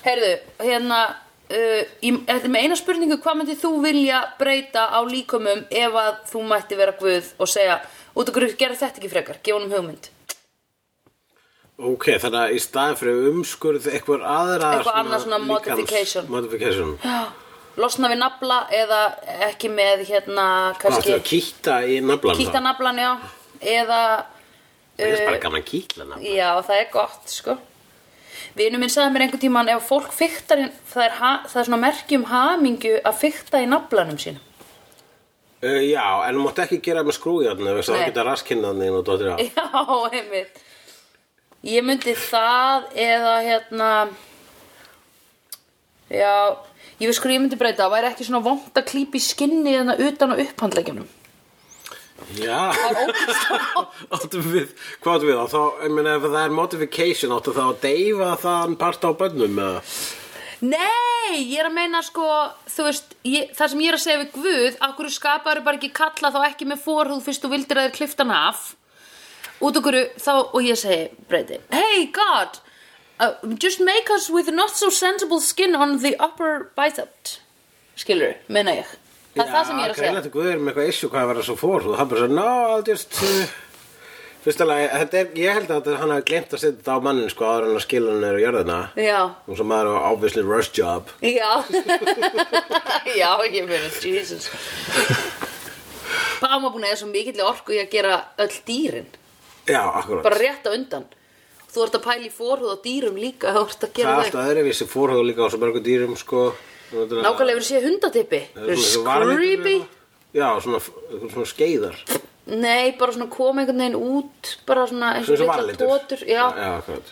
Heyrðu, hérna uh, ég, Þetta er með eina spurningu Hvað myndið þú vilja breyta á líkumum Ef að þú mætti vera guð Og segja, út okkur gera þetta ekki frekar Gefa honum hugmynd
ok, þannig að í staðin fyrir umskurð eitthvað aðra
Eitthvað annað svona
líkans-
modification.
modification.
Losna við nafla eða ekki með hérna
Áttu að
kannski
kýtta í naflan
Kýta naflan, já Eða,
Það er
Eh,
bara gaman að kýtla naflan
já, það er gott, sko Vinu minn sagði mér einhvern tímann ef fólk fyktar, það er, ha, það er svona merki um hamingju að fykta í naflanum sínum.
Uh, já, en þú mátt ekki gera með skrújarnu þess að
Nei. Eh,
það geta raskinnaðin og dóttir á.
Já, einmitt Ég myndi það eða hérna Já, ég veist hverju ég myndi breyta Það væri ekki svona vond að klípa í skinni Þannig utan á upphandleikjunum
Já, áttu við, hvað áttu við þá? Þá, ég meina, ef það er modification, áttu þá að deyfa þann part á bönnum eða?
Nei, ég er að meina sko Þú veist, ég, það sem ég er að segja við Guð Akkur skapaður bara ekki kalla þá ekki með forhúð Fyrst þú vildir að þeir kliftan af Út okkur þá Og ég segi breyti Hey God, uh, just make us with not so sensible skin on the upper bicep Skilur, meina ég Það er það sem ég er að segja
greinlega guður með eitthvað issue hvað að vera svo fór og það bara svo, no, I'll just... Uh, fyrst alveg, þetta er, ég held að þetta- hann hafi glemt að setja þetta á mannin, sko, áður en að skila hann er á jörðina.
Já,
Og svo maður á obviously rush job.
já Já, ég meina, Jesus Bara maður búin að eða svo mikill orku í að gera öll dýrin
Já, akkurat.
bara rétt á undan þú ert að pæla í forhúð á dýrum líka þú ert að
það
gera
er
það
alltaf öðruvísi fórhug líka á svo mörgum dýrum, sko.
nákvæmlega hefur séð hundatipi
Það er svona eitthvað
creepy
varalitur eða- Já, svona, eitthvað svona skeiðar
nei, bara svona koma einhvern veginn út bara svona eins
Svona
og
svo
litla
varalitur
tótur já.
já, akkurat.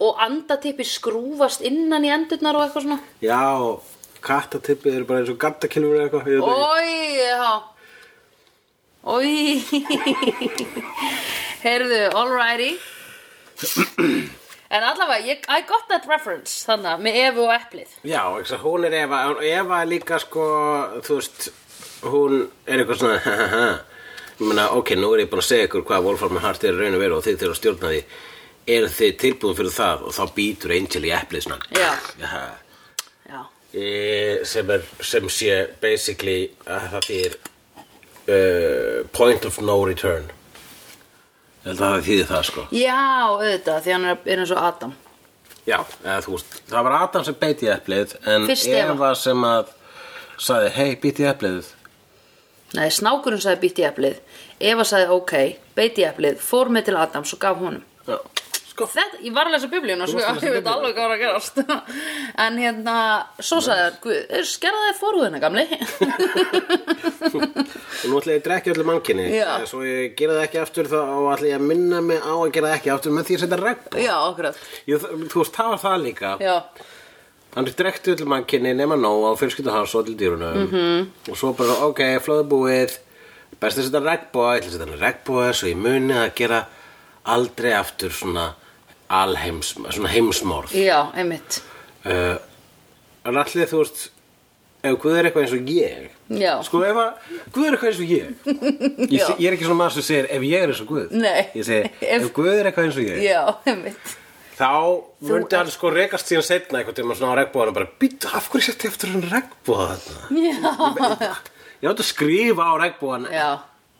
og andatipi skrúfast innan í endurnar og eitthvað svona
já og kattatippið eru bara eins og gattakilfur eða eitthvað ég veit ekki.
oi, já oi heyrðu, alrighty en allavega, ég, I got that reference þannig, að, með Evu og Eplið
Já, ekki, svo hún er Eva en Eva er líka sko, þú veist hún er eitthvað svona ha, ha, ha. Ég meina, ok, nú er ég búin að segja ykkur hvað Wolfram Hart er í raun og veru og þið til að stjórna því eru þið tilbúin fyrir það og þá býtur Angel í eplið svona
Já.
Jaha.
já,
Eh, sem, er, sem sé basically að það þýðir uh, point of no return ég held að það þýðir það sko
já auðvitað, því hann er, er eins og Adam
já, eða, þú veist, það var Adam sem beit í eplið en
Fyrst Eva.
Eva sem að sagði, hei, bít í eplið
Nei, snákurinn sagði býtt í eplið, Eva sagði ok, beit í eplið, fór með til Adams og gaf honum.
já, sko
Þetta, ég var að lesa biblíuna, svo
varst að lesa
ég veit alveg hvað var að gerast. en hérna, svo sagði hann, "Guð, skerðaði fórhúðina gamli.
og nú ætla ég að drekja öllu mannkinni
Já.
svo ég gera það ekki aftur þá og ætla ég að minna mig á að gera það ekki aftur með því að setja regn
Já, okkur að,
Jú, þú veist, það var það líka
já,
Hann er drekkt öll mannkinni nema Nóa og fjölskyldu hans og öll dýrunum og svo bara, ok, flóðu búið best að setja regnbóa, ég ætla að setja hann regnbóa svo ég muni að gera aldrei aftur svona alheims, svona heimsmorð
já, einmitt,
uh, en allir þú veist ef Guð er eitthvað eins og ég
já,
sko ef að Guð er eitthvað eins og ég ég,
Já.
ég er ekki svona maður sem segir ef ég er eins og Guð
Nei.
ég segi
Ef-
ef Guð er eitthvað eins og ég
já, einmitt.
Þá myndi hann sko rekast síðan setna einhvern tíma svona á regnbóðan og bara Býttu, af hverju settu eftir hann regnbóða þarna?
Já,
Ég átti að skrifa á regnbóðan
já,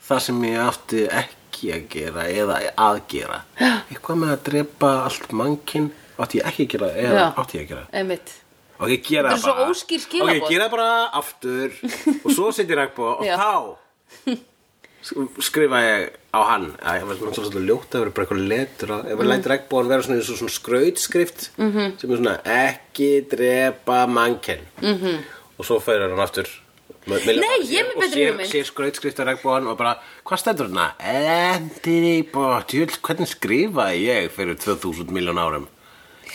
það sem ég átti ekki að gera eða að gera Eitthvað með að drepa allt mannkinn átti ég ekki að gera eða
Já.
átti ég að gera
einmitt,
Og ég gera
Þetta er
bara
svo óskýr
Ok,
skilaboð.
ég gera bara aftur og svo setja ég regnbóða
Já.
og þá skrifa ég á hann að ég var svona svolítið ljótt að vera bara eitthvað letur að,
Mhm.
ef maður lætur regnbóðan vera svona eins og svona skrautskrift -hmm. sem er svona ekki drepa mannkenn -hmm. og svo fyrir hann aftur með- með
Mhm. Nei,
ljóðfæri
ég er með
og
betri
sér-
hugmynd.
sér skrautskrift á regnbóðan og bara, hvað stendur hann að endri bóttjöld, hvernig skrifaði ég fyrir 2000 miljón árum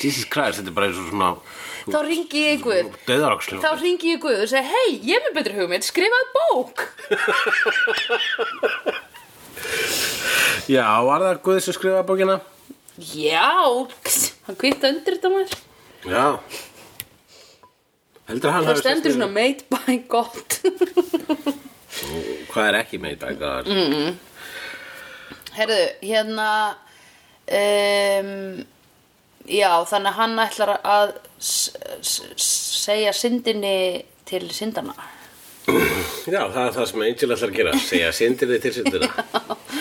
Jesus Christ, þetta er bara eins og svona
Þá ringi ég í Guð.
döðarokslu
Þá ringi ég í Guð og segi, hei, ég er með betri hugmynd, skrifaðu bók.
Já, var það Guð sem skrifaði bókina?
Já, hann kvitta undir þetta maður.
Já Heldur að hann
Það
hafi
stendur
sett
svona
niður-
made by God.
Hvað er ekki made by God? Mm.
Herðu, hérna, um, já, þannig að hann ætlar að s- s- s- segja syndinni til syndana.
Já, það er það sem Angel ætlar að gera Segja syndir þig til syndina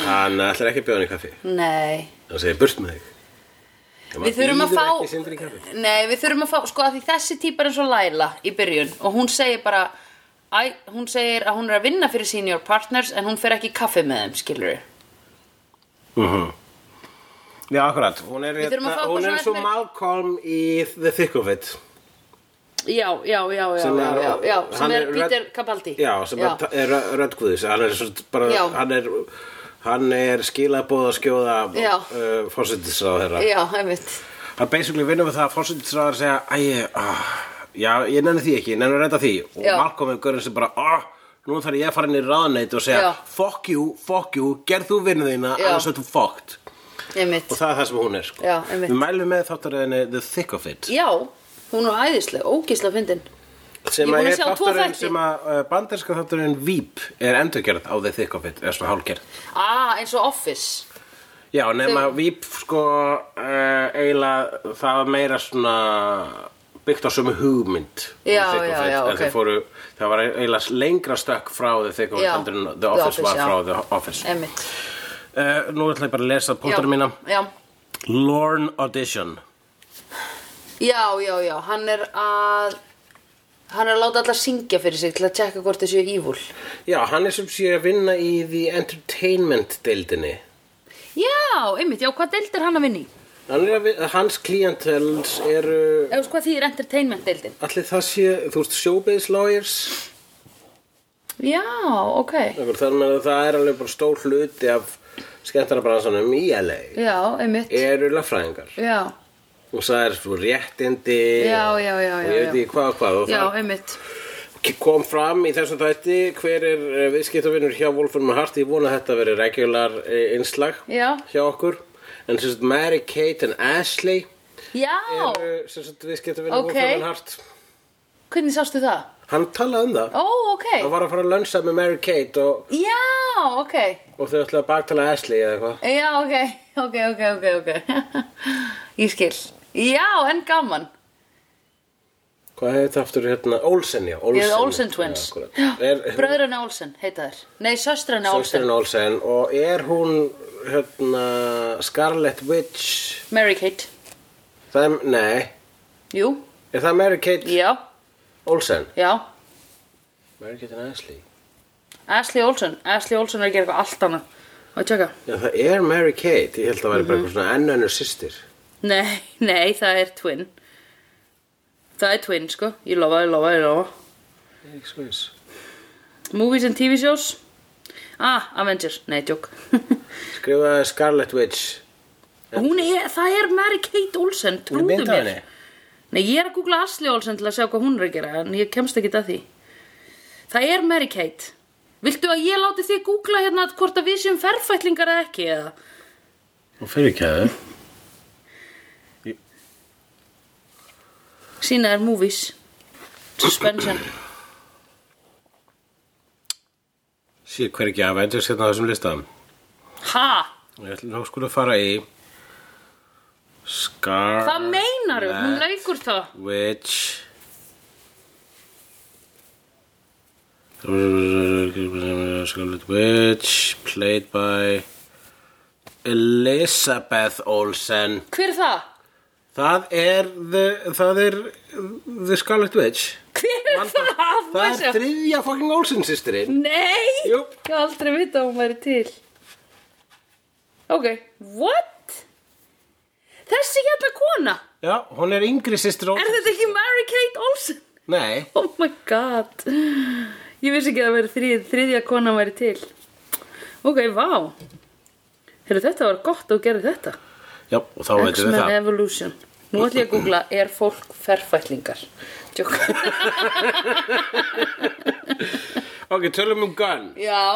Hann ætlar ekki að bjóða henni í kaffi
Nei.
Hann segir burt með þig Ef maður
Við þurfum að
býður
fá-
ekki syndir í kaffi
Nei, við þurfum að fá, sko að því þessi típa er eins og Laila í byrjun og hún segir bara, æ, hún segir að hún er að vinna fyrir senior partners en hún fer ekki í kaffi með þeim, skilur við.
Já, akkurat Hún er, hérna-
Við þurfum að fá
hún
bara
er
svona
svo
eftir-
Malcolm í The Thick of It
Já, já, já, já,
Sem
já,
er-
já, já,
hann
sem er,
er rödd-
Peter Capaldi.
Já, sem já. er rödd Guðis Hann er, svo bara,
Já.
hann er, hann er skilabóð að skjóða
Já.
uh, Fórsetisráð þeirra
Já, einmitt.
Það basically vinnum við það að fórsættisraður segja Æ, ah, já, ég nenni því ekki, ég nenni að reynda því Og
Já.
Malcolm er görinn sem bara ah, Nú þarf ég að fara inn í ráðneitt og segja
Já.
Fuck you, fuck you, gerð þú vinnu þína
Já.
Annars ertu fucked
Einmitt.
Og það er það sem hún er sko.
Já, einmitt.
Við mælum með þáttaröðinni The Thick of It
Já, hún er æðisleg, ógísla fyndin. Ég
Sem
er búin
að
að
er
sjá tvo
þáttaröðin
þætti.
sem að uh, banderska þáttaröðin Veep er endurgerð á The Thick of It Eða svona hálgerð
Ah, eins og Office.
Já, nema Veep sko uh, eiginlega það var meira svona byggt á sömu hugmynd um
Já,
Thick of
já,
It,
já,
en
ok.
þeir fóru, það var eiginlega lengra stökk frá The Thick of It
Já,
heldur en The Office var
já.
frá The Office
Einmitt.
uh, Nú ætla ég bara að lesa
Já,
pótana mína
Já,
Lorne Audition
já, já, já, hann er að, hann er að láta alla syngja fyrir sig til að tjekka hvort þessi er evil.
Já, hann er sem sé að vinna í The Entertainment deildinni
Já, einmitt, já, hvað deild er hann að vinna í?
Hann er að vi- Hans klientels eru
Ef þú veist hvað því er entertainment deildin?
Allir það sé, þú veist, showbiz lawyers
Já, ok.
Þannig að það er alveg bara stór hluti af skemmtarabransanum í LA
Já, einmitt.
eru lögfræðingar
Já,
og það er svo réttindi
Já, já, já,
og
já,
ég veit
já.
ekki hvað og hvað og
já,
það
einmitt.
kom fram í þessum þætti hver er viðskiptavinnur hjá Wolfram og Hart ég vona að þetta veri regular eh, innslag
Já.
hjá okkur en sem sagt Mary Kate and Ashley
Já,
eru sem sagt viðskiptavinnur
Ok.
Wolfram og Hart
hvernig sástu það?
hann talaði um það
Ó, ok.
hann var að fara að lönsa með Mary Kate og,
Já, ok.
og þau ætlaði að baktala Ashley eða eitthvað
Já, ok, ok, ok, ok, ok. Ég skil. Já, en gaman.
hvað hefði þetta aftur hérna Olsen já Olsen,
Ég er Olsen Twins.
já, akkurat.
Já,
er,
Bröðrana Olsen heita þær. Nei, söstrana Olsen.
Sölsturinn Olsen og er hún hérna, Scarlet Witch
Mary Kate.
það er, nei,
Jú,
er það Mary Kate
já,
Olsen?
já.
Mary Kate and Ashley
Ashley Olsen. Ashley Olsen er að gera eitthvað allt annað. Má ég tjekka?
Já, það er Mary Kate, ég held að það væri bara
Mhm.
eitthvað svona enn önnur systir
Nei, nei, það er twin. Það er twin, sko. Ég lofa, ég lofa, ég lofa.
Ég er ekki svo viss.
Movies and TV shows Ah, Avengers, nei, tjók
Skrifaði Scarlet Witch
Hún er, það er Mary-Kate
Hún
Olsen
er
Trúðu
mynd af
mér
henni
Nei, ég er að googla Asli Olsen til að sjá hvað hún er að gera En ég kemst ekki að því Það er Mary-Kate Viltu að ég láti þig googla hérna hvort að við séum ferfætlingar eða ekki eða?
Hún fyrir ekki að þau
Sína er movies Suspension
Sér hver ekki af, endur sérna á þessum listam
Ha?
Ég ætla nú skulu að fara í Scarlet
Hvað meinar þú? Hún leikur það
Which Scarlet Witch played by Elizabeth Olsen
Hver er það?
Það er the, það er The Scarlet Witch
Hver er það?
Það er þriðja fucking Olsen sýstirinn
Nei!
Jú.
Ég hef aldrei vita að hún væri til. Ok, what? Þessi hérna kona,
Já, hún er yngri sýstir
er
Olsen
þetta ekki Mary-Kate Olsen?
Nei,
Oh my god. Ég vissi ekki að vera þrið, þriðja kona væri til. Ok, vá. Heyrðu, þetta var gott að þú gerði þetta.
já, og þá veitum við
X-Men
það
Evolution. Nú ætlum ég að googla, er fólk ferfætlingar? Tjók.
Ok, tölum um Gunn
Já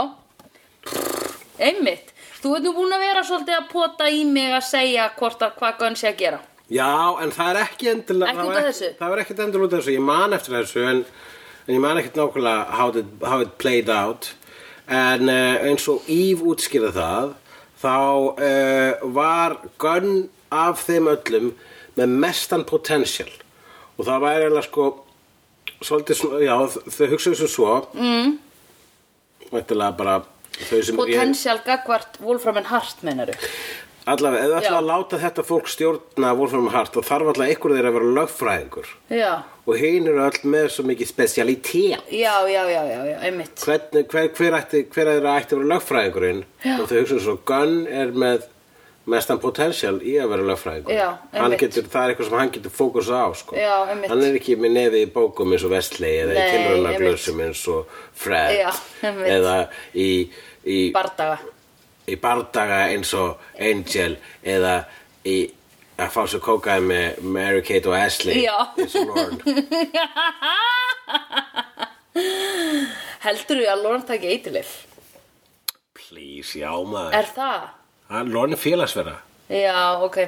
Einmitt Þú ert nú búin að vera svolítið að pota í mig að segja hvort að hvað Gunn sé að gera
Já, en það er ekki endilega
Ekki
það
út
var
af þessu?
Það var ekkit endilega út af þessu, ég man eftir þessu en, en ég man ekkit nákvæmlega how it, how it played out en uh, eins og Eve útskýrði það þá uh, var Gunn af þeim öllum með mestan potential og það væri eiginlega sko svolítið, svona- já, þ- þau hugsaðu sem svo mm. bara þau sem ég-
Potential gagvart Wolfram and Hart meinaru
Allavega, ef það ætla
Já.
að láta þetta fólk stjórna Wolfram Hart, þá þarf allavega einhver þeirra að vera lögfræðingur
Já,
og hinn eru öll með svo mikið spesialitet
já, já, já, já, já einmitt
Hvernig, hver, hver, ætti, hver þeirra ætti að vera lögfræðingurinn
Já.
og þau hugsa svo, Gunn er með mestan potential í að vera lögfræðingur
Já,
Hann
einmitt.
getur, það er eitthvað sem hann getur fókusa á sko.
Já, einmitt.
hann er ekki með nefið í bókum eins og Vestley eða
Nei,
í tilraunaglösum eins og Fred
Já, einmitt.
eða í, í,
Bardaga
í bardaga eins og Angel eða í að fá svo kókaði með Mary-Kate og Ashley
Já.
eins og Lorne
Heldurðu að Lorne taki eitilif?
Please, já maður
Er það?
Hann Lorne er félagsverða
Já, ok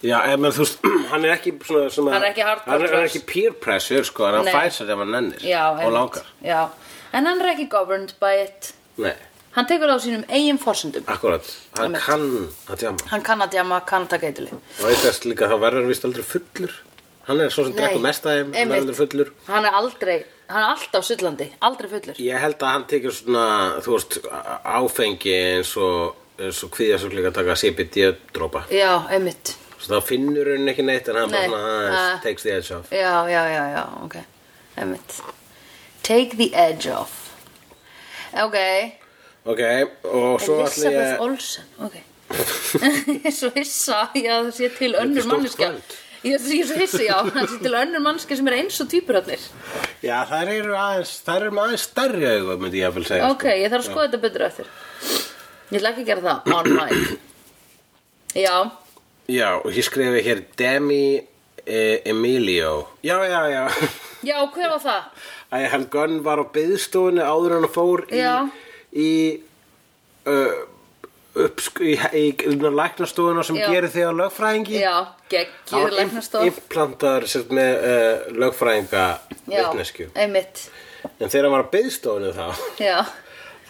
Já, en menn, þú veist, hann er ekki svona, svona
Hann er ekki hardcore
hann er, hann er
class.
ekki peer pressure, sko, en hann
Nei.
fær sér ef hann nennir
Já,
og langar
Já, en hann er ekki governed by it
Nei,
Hann tekur það á sínum eigin forsendum
akkurat, hann
Einmitt.
kann að djama
Hann kann að djama, kann að taka eitilif
og eitthvað líka þá verður hann vist aldrei fullur hann er svo sem drekkur mest af þeim, hann er aldrei fullur
Hann er aldrei, hann er alltaf sullandi, aldrei fullur
Ég held að hann tekur svona, þú veist, á- áfengi eins og, eins og kvíða svo líka að taka CBD-dropa.
Já, einmitt
Svo þá finnur hann ekki neitt en hann
Nei, Ah.
bara svona aðeins
að-
takes the edge off.
Já, já, já, já, ok Einmitt Take the edge off Ok,
Ok, og svo ætlum
Elizabeth
ég...
Olsen Ok Ég er svo hissa, já, það sé til önnur
stórt
manneskja
kvöld.
Ég er ég er svo hissa, já, það sé til önnur manneskja sem er eins og tvíburarnir
Já, þær eru aðeins, þær eru með aðeins stærri augu, myndi ég að vilja segja. sko.
Ok, ég þarf að skoða þetta betur eftir Ég ætla ekki að gera það on mic Já,
Sko. Já, og ég skrifi hér Demi e, Emilio. Já, já, já.
já, hver var það?
Æ, hann Gunn var á byggstofunni áður en hann fór í...
Já.
Í... Uh, upp, í, í, í læknastofuna sem
Já.
gerir þig að lögfræðingi
Já,
Það
geggjur
var
læknastof
Implantaður sért, með uh, lögfræðinga
Já,
vitnesku
einmitt
En þegar hann var að byggstofunni þá
Já,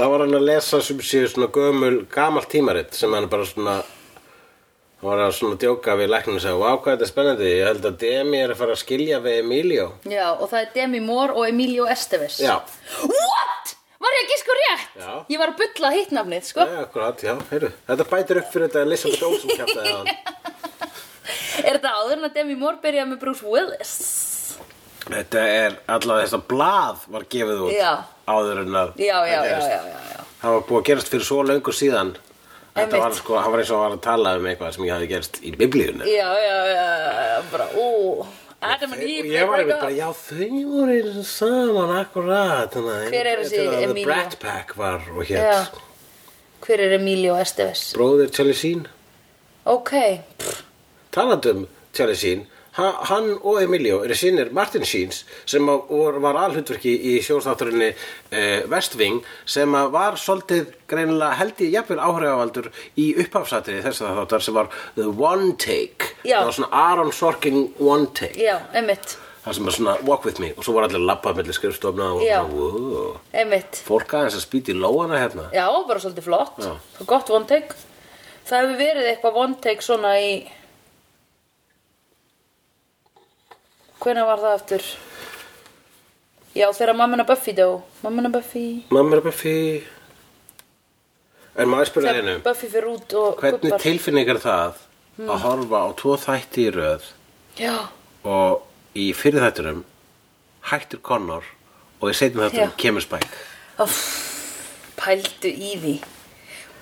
Þá var hann að lesa sem séu svona gömul gamalt tímarit sem hann bara svona hann var að svona djóka við læknum og segja Vá, hvað þetta er spennandi, ég held að Demi er að fara að skilja við Emilio
já, og það er Demi Moore og Emilio Esteves
Já,
What? Var ég að gíska rétt?
Já.
Ég var að bulla hitt nafnið, sko
já, akkurat, já, heyrðu Þetta bætir upp fyrir þetta Elisabeth Olsen kjáttaði hann
Er þetta áður en að Demi Moore byrjaði með Bruce Willis?
Þetta er allavega þess að blað var gefið út
Já.
áður en að
Já, já,
það
já,
gerist.
já, já, já.
Það var búið að gerast fyrir svo löngu síðan Þetta
Einmitt.
var sko, hann var eins og var að tala um eitthvað sem ég hafði gerst í biblíunni
Já, já, já, já, bara, ú Adam and Eve, oh
Og
they
ég var
break
einmitt
up.
bara, já þau voru eins og saman akkurat
Hver er þessi
The
Emilio?
Brat Pack var og
Já.
hétt
Hver er Emilio Esteves?
Bróðir Charlie Sheen
Ok,
Talandum Charlie Sheen ha, Hann og Emilio eru sinir Martin Sheens sem að vor- var alhundverki í sjóðstátturinni eh, West Wing sem að var svolítið greinilega held ég jafnvel áhrifavaldur í upphafsatri þess að þáttar sem var The One Take
Já.
það var svona Aaron Sorkin One Take
já, einmitt
það sem var svona Walk With Me og svo var allir labbað mellir skrifstofna og
Já.
svona, wow.
Einmitt
fólk aðeins að spýta í lóana hérna
Já, bara svolítið flott
Já.
Og gott one take Það hefur verið eitthvað one take svona í Hvenær var það aftur? Já, þegar mammina Buffy dó Mammina Buffy
mamma er Buffy en maður spyrir
Þegar
einu
Buffy fyrir út og
hvernig
gubbar.
tilfinning er það að horfa á tvo þætti í röð
já,
og í fyrir þættunum hættur Connor og í seinum þættunum
Já.
kemur Spike
Öff, pældu í því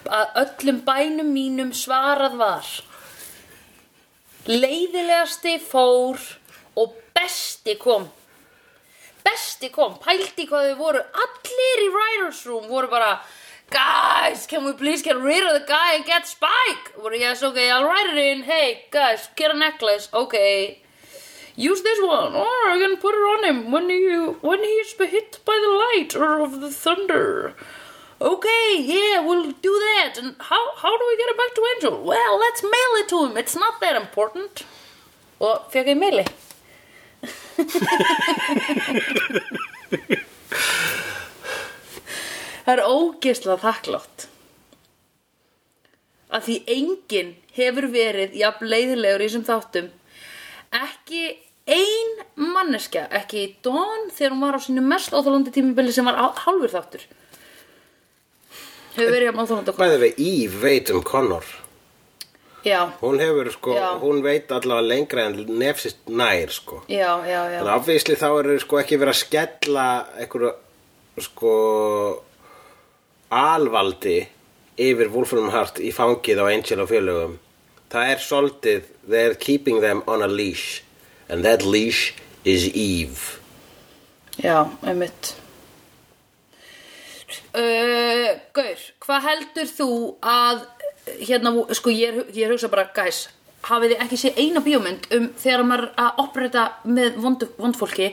að öllum bænum mínum svarað var leiðilegasti fór og besti kom besti kom, pældi hvað þau voru allir í writers room voru bara guys, can we please get rid of the guy and get Spike voru yes, ok, I'll write it in hey guys, get a necklace, ok use this one or I can put it on him when you when he's hit by the light or of the thunder. Okay, yeah, we'll do that. And how how do we get it back to Angel? Well, let's mail it to him. It's not that important. Og fekk ég meili. Það er ógeðslega þakklátt að því enginn hefur verið jafn leiðilegur í þessum þáttum ekki ein manneska, ekki Dawn þegar hún var á sínu mest óþálandi tímabili sem var á- hálfur þáttur hefur verið jafn óþálandi okkur
Bæði við í veit um Connor
já,
hún hefur sko,
Já.
hún veit allavega lengra en nefsist nær sko
já, já, já
en afvísli þá eru sko ekki verið að skella einhverju sko alvaldi yfir Wolfram Hart í fangið á Angel og félögum það er soldið they're keeping them on a leash and that leash is Eve
Já, einmitt uh, Gaur, hvað heldur þú að hérna, sko ég, er- ég hugsa bara guys, hafið þið ekki séð eina bíómynd um þegar maður er að operita með vond, vondfólki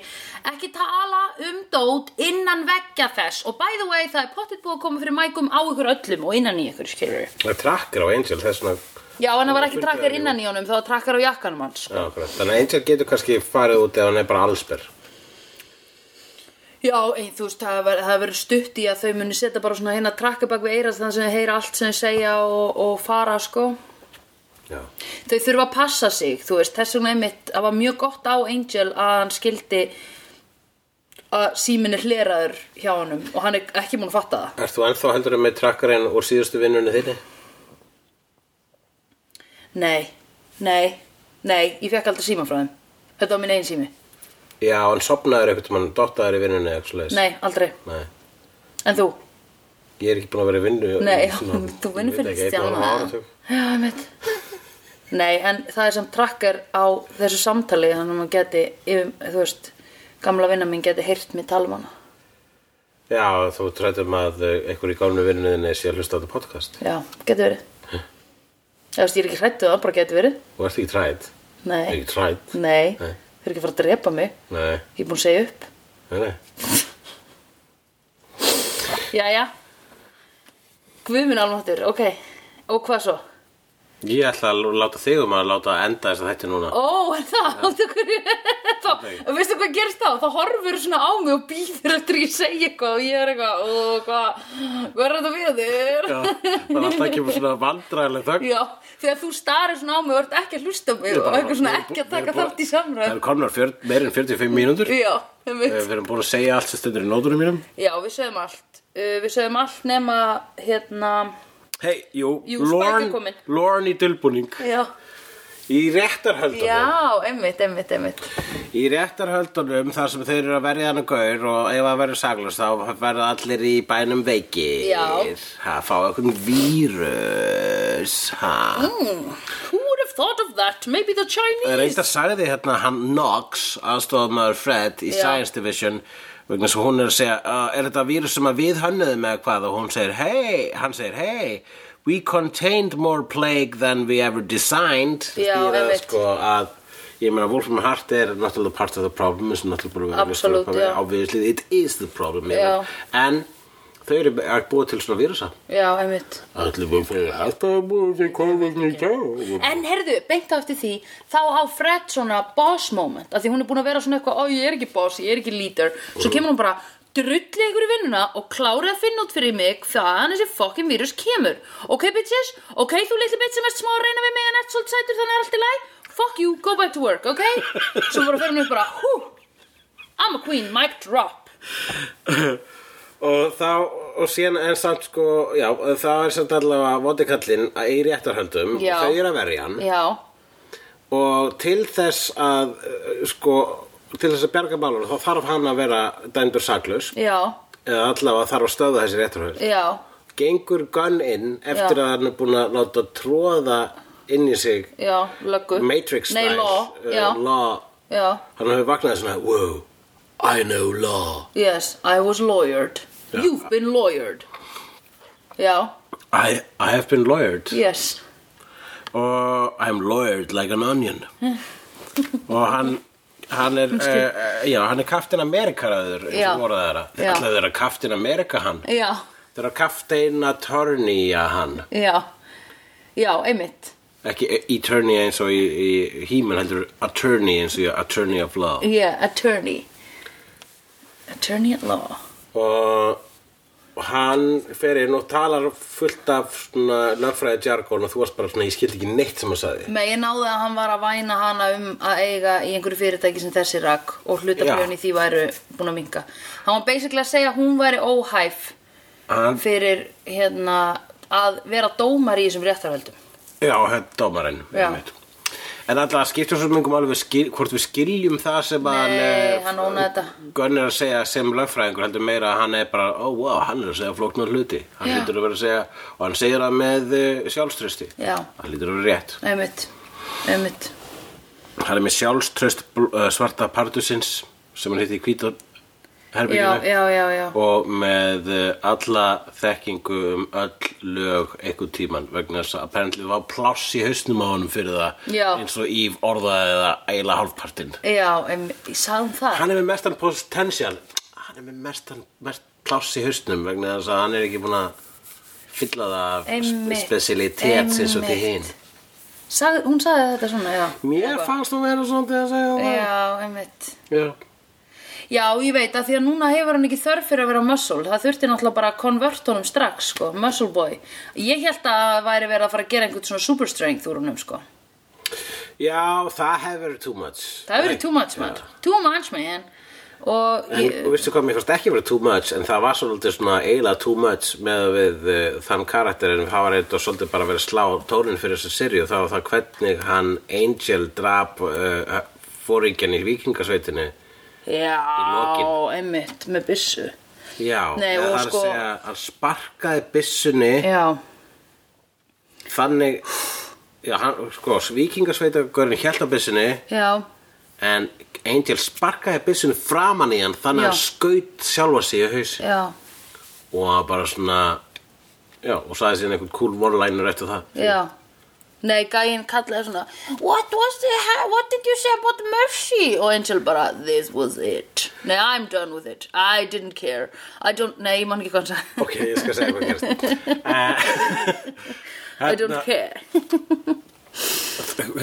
ekki tala um dót innan veggja þess og by the way það er pottitt búið að koma fyrir mækum á ykkur öllum og innan í ykkur skilur
það er trakkar á Angel þess vegna
Já, en það var ekki
Fullt
trakkar
af-
innan í honum, það var trakkar á jakkanum hans
Já, akkurat. þannig að Angel getur kannski farið út ef hann er bara allsber
Já, ein, þú veist, það ver- það verður stutt í að þau muni setja bara svona hérna trakka bak við eirast þannig sem þau heyra allt sem þau segja og, og fara, sko.
Já.
Þau þurfa að passa sig, þú veist, þess vegna einmitt, það var mjög gott á Angel að hann skildi að síminn er hleraður hjá honum og hann er ekki múin að fatta það.
Ert þú ennþá heldur með trakkarinn úr síðustu vinnunni þinni?
Nei, nei, nei, ég fekk aldrei síma frá þeim. Þetta var minn einn sími.
Já, hann sopnaður einhvern mann, dottaður í vinnunni eða eitthvað svoleiðis.
Nei, aldrei.
Nei.
En þú?
Ég er ekki búin að vera í vinnu
Nei,
svona-
þú
ég
vinnur
veit
fyrir
ekki, einn og hálfan
stjána
áratug.
Já, ég veit Nei, en það er sem trakkar á þessu samtali þannig að maður geti, yfir, þú veist gamla vinna mín geti heyrt mig tala um hana
Já, þú trættum að eh, einhver í gamlu vinnuðinni sé að hlusta á þetta podcast
Já, geti verið Ég veist, ég er ekki hrættu það, bara geti verið
Þú ert ekki trætt
Nei,
Ekki trætt
nei,
Nei.
þau eru ekki að fara að drepa mig
Nei,
Ég er búin að segja upp
nei, nei
Jæja Guðminn almáttur, ok Og hvað svo?
Ég ætla að láta þig um að láta enda þess að þetta núna
Ó, er það, áttu hverju þá, veistu hvað gerst þá, þá horfur svona á mig og býður eftir ég segja eitthvað og ég er eitthvað, og hvað hvað er þetta við
Já,
þér?
Það er alltaf ekki svona vandræðileg þögn
Já, þegar þú starir svona á mig og ert ekki að hlusta á mig og eitthvað svona ekki að taka þátt í
Það
samræð
eru komnar fjör- meira en 45 mínútur Eh,
Já, einmitt.
Við erum búin að segja allt sem stendur í nótunum mínum
Já, við sögum allt uh, Við sögum allt nema, hérna
Hei, jú,
Jú, Spike er
Lorne,
kominn.
Lorne í dulbúning
Já,
Í réttarhöldunum
já einmitt, einmitt, einmitt
Í réttarhöldunum þar sem þeir eru að verja hann gaur og ef að verður saglust þá verða allir í bænum veikir
Já.
ha, Fá eitthvað vírus ha.
Hmm, Who would have thought of that? Maybe the Chinese?
Reynda sagði hérna hann Knox aðstofamaður Fred í
Já.
Science Division vegna sem hún er að segja uh, er þetta vírus sem að við hönnuðum eða hvað og hún segir hey, hann segir hey we contained more plague than we ever designed
Já,
Stýra,
einmitt.
sko, að ég meina Wolfram Hart er náttúrulega part of the problem eins og náttúrulega búin að vera
Absolute,
lýst upp að
já.
obviously it is the problem ég
Já.
meina. en þau eru að búa til svona vírusa
Já, einmitt
allir við fyrir alltaf að búa til COVID-19 í dag.
En heyrðu, beint á eftir því, þá á Fred svona boss moment, af því hún er búin að vera svona eitthvað, ó ég er ekki boss, ég er ekki leader, svo kemur hún bara, drulli ykkur í vinnuna og klári að finna út fyrir mig hvaðan þessi fokkin vírus kemur. Ok bitches, ok þú litli bitch sem ert smá að reyna við mig en ert svolítið sætur þannig er allt í læg, fuck you, go back to work, ok? Svo bara fer hún upp bara, hú, I'm a queen, mic drop.
og þá og síðan en samt sko já, þá er samt allavega vodikallinn í réttarhöldum
Já.
Mm. þau eru að verja hann
Já,
og til þess að eh, sko, til þess að berga málunum þá þarf hann að vera dæmdur saklaus
já,
eða allavega þarf að stöða þessi réttarhörð
já,
gengur Gunn inn eftir
Já.
að hann er búin að láta tróða inn í sig
já, löggu.
Matrix style
Nei, law,
eh,
já,
law.
já,
hann hefur vaknað svona wow, I know law
yes, I was lawyered.
Já.
You've been lawyered. Já,
I, I have been lawyered
yes,
og I'm lawyered like an onion og hann hann er, uh, já, hann er Captain America-raður eins
Já.
og voru þeirra
Já.
alltaf þeirra Captain America hann
já,
þeirra Captain Attorney-a hann
já, já, einmitt.
ekki Attorney eins og í, í He-Man heldur Attorney eins og í Attorney of Law
Yeah, attorney. Attorney at law.
og og hann fer inn og talar fullt af svona lögfræði jargon og þú varst bara svona, ég skildi ekki neitt sem hann sagði
Nei, ég náði að hann var að væna hana um að eiga í einhverju fyrirtæki sem þessi rak og hlutabrjóðin
Já.
í því væru búin að minka. Hann var basically að segja að hún væri óhæf
hann,
fyrir hérna að vera dómar í þessum réttarhöldum.
já, þetta dómarinn
Já.
einmitt. en alltaf skiptum svo mingum alveg skil, hvort við skiljum það sem
Nei,
hann, eh,
hann ónaði þetta.
Gunn er að segja sem lögfræðingur heldur meira að hann er bara, ó, oh, wow, hann er að segja flóknar hluti hann
Já.
lítur að vera að segja, og hann segir það með eh, sjálfstrausti
Já.
hann lítur að vera rétt
Einmitt, einmitt.
hann er með sjálfströst uh, svarta pardusins sem hann hitti í hvíta
Já,
herbygginu
já, já, já.
og með eh, alla þekkingu um öll lög einhvern tíman vegna þess að apparently var pláss í hausnum á honum fyrir það
Já.
eins og Ív orðaði það eiginlega hálfpartinn
Já, einmitt, ég sagði hún það.
hann er með mestan potential hann er með mestan mest pláss í hausnum vegna þess að hann er ekki búin að fylla það af
Einmitt,
specialitet eins og því hinn
einmitt. Sagði, hún sagði þetta svona, já.
mér fannst þú vera svolítið að segja
Já, einmitt.
það já.
Já, ég veit að því að núna hefur hann ekki þörf fyrir að vera muscle. Það þurfti náttúrulega bara að konvert honum strax, sko, muscle boy. Ég held að það væri verið að fara að gera einhvern svona super strength úr honum, sko.
Já, það hefur verið too much
Það hefur verið too much, man. Too much, man. Og
En
ég,
veistu hvað, mér fannst ekki verið too much En það var svolítið svona eiginlega too much með við uh, þann karakterin Það var eitthvað svolítið bara verið að slá tónin fyrir þessu seri og það var það hvernig hann Angel drap uh, fóringjan í vikingasveitinni
já,
lokin.
einmitt, með byssu.
Já,
Nei,
eða
og
það er
sko-
að segja hann sparkaði byssunni
Já,
þannig Já, hann, sko, vikingasveitagurinn hjælt á byssunni
já,
en Angel sparkaði byssunni framan í hann þannig
Já.
að hann skaut sjálfa sig í haus
já,
og hann bara svona já, og sagði síðan einhvern cool one-liner eftir það
já. Nei, gæinn kallaði svona What was the, what did you say about mercy? Og Angel bara, this was it. Nei, I'm done with it. I didn't care. I don't, nei, ég man ekki hvað hann sagði.
ok, ég skal segja hvað Eh, hérna- gerst
I don't care.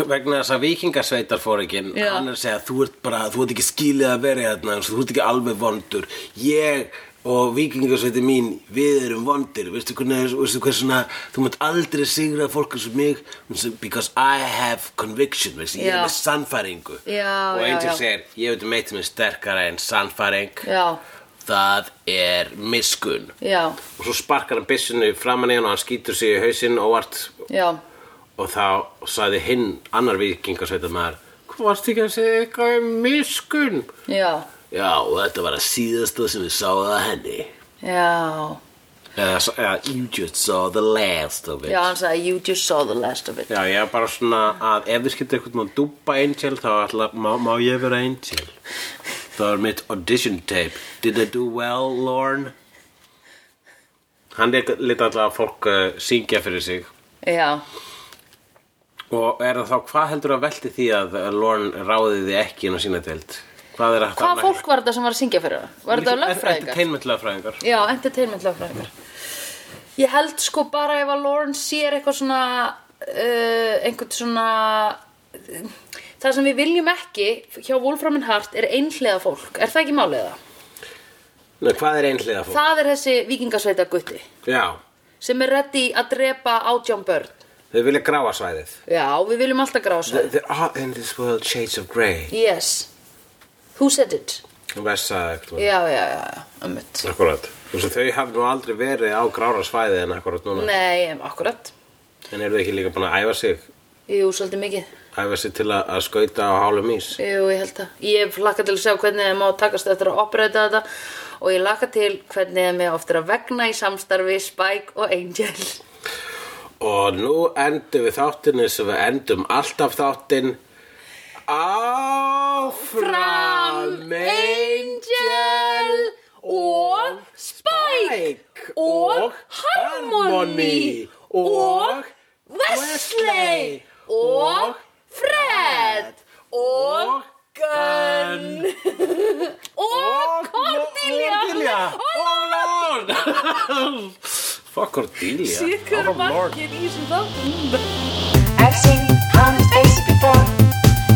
vegna þess að vikingasveitarfóringin
Já.
hann er að segja, þú ert bara, þú ert ekki skilið að vera hérna, eins og þú ert ekki alveg vondur ég og vikingasveitin mín við erum vondir, veistu hvernig veistu hvað svona, þú mátt aldrei sigra fólk eins og mig, because I have conviction, veistu, ég
Já.
er með sannfæringu
Já,
og
já,
Angel
já.
segir, ég veit um eitt sem er sterkara en sannfæring
Já,
það er miskun
já,
og svo sparkar hann byssunni framan í hann og hann skýtur sig í hausinn óvart
já,
og þá sagði hinn annar vikingasveitar maður hvað varst ekki að segja eitthvað um miskun
já,
já og þetta var að síðasta sem við sáða henni
já.
eða, eða you just saw the last of it
Já, hann sagði, you just saw the last of it.
Já, ég er bara svona að ef við skiptum eitthvað að dúpa Angel þá ætla, má, má ég vera Angel Það var mitt audition tape Did I do well, Lorne? Hann leta alltaf fólk uh, syngja fyrir sig
Já,
Og er það þá, hvað heldur að velti því að uh, Lorne ráði því ekki inn á sína deild? Hvað er að
hvað fólk var þetta sem var að syngja fyrir það? Var þetta lögfræðingar?
Entertainment lögfræðingar
Já, entertainment lögfræðingar. Ég held sko bara ef að Lauren sér eitthvað svona, uh, einhvern svona, það sem við viljum ekki hjá Wolfram and Hart er einhlega fólk. Er það ekki málið það?
Nei, hvað er einhliða fólk?
Það er þessi vikingasveita gutti
Já,
sem er ready að drepa átján börn.
þau vilja gráa svæðið
Já, við viljum alltaf gráða svo.
There are in this world shades of grey
Yes. Who said it?
Vessaði eitthvað
Já, já, já, já, ömmut.
Akkurat. Þessu, þau hafði nú aldrei verið á grára svæði en akkurat núna.
Nei, em, akkurat.
En eru þau ekki líka búin að æfa sig?
Jú, svolítið mikið.
æfa sig til að, að skauta á hálum ís
Jú, ég held það. Ég lakka til að sjá hvernig þeim á að takast eftir að operata þetta og ég lakka til hvernig þeim er oftir að vegna í samstarfi Spike og Angel.
Og nú endum við þáttinn eins og við endum alltaf þáttinn Áfram
Fram Angel og Spike og Harmony og Wesley og Fred og Gunn og Cordelia.
Oh lord Fuck Cordelia
Sikur
Oh, lord.
markið í þessum þáttum.
I've seen honest faces before.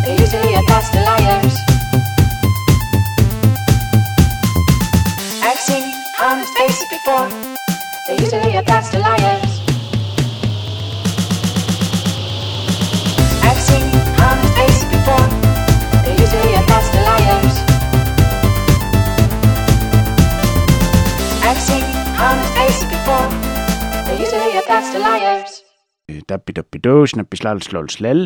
They're usually a pass to liars. I've seen honest faces before. They're usually a pass to liars. I've seen honest faces before. They're usually a pass to liars. I've seen honest faces before. They're usually a pass to liars.
Dabbi dabbi dó, snabbi slal slól slell.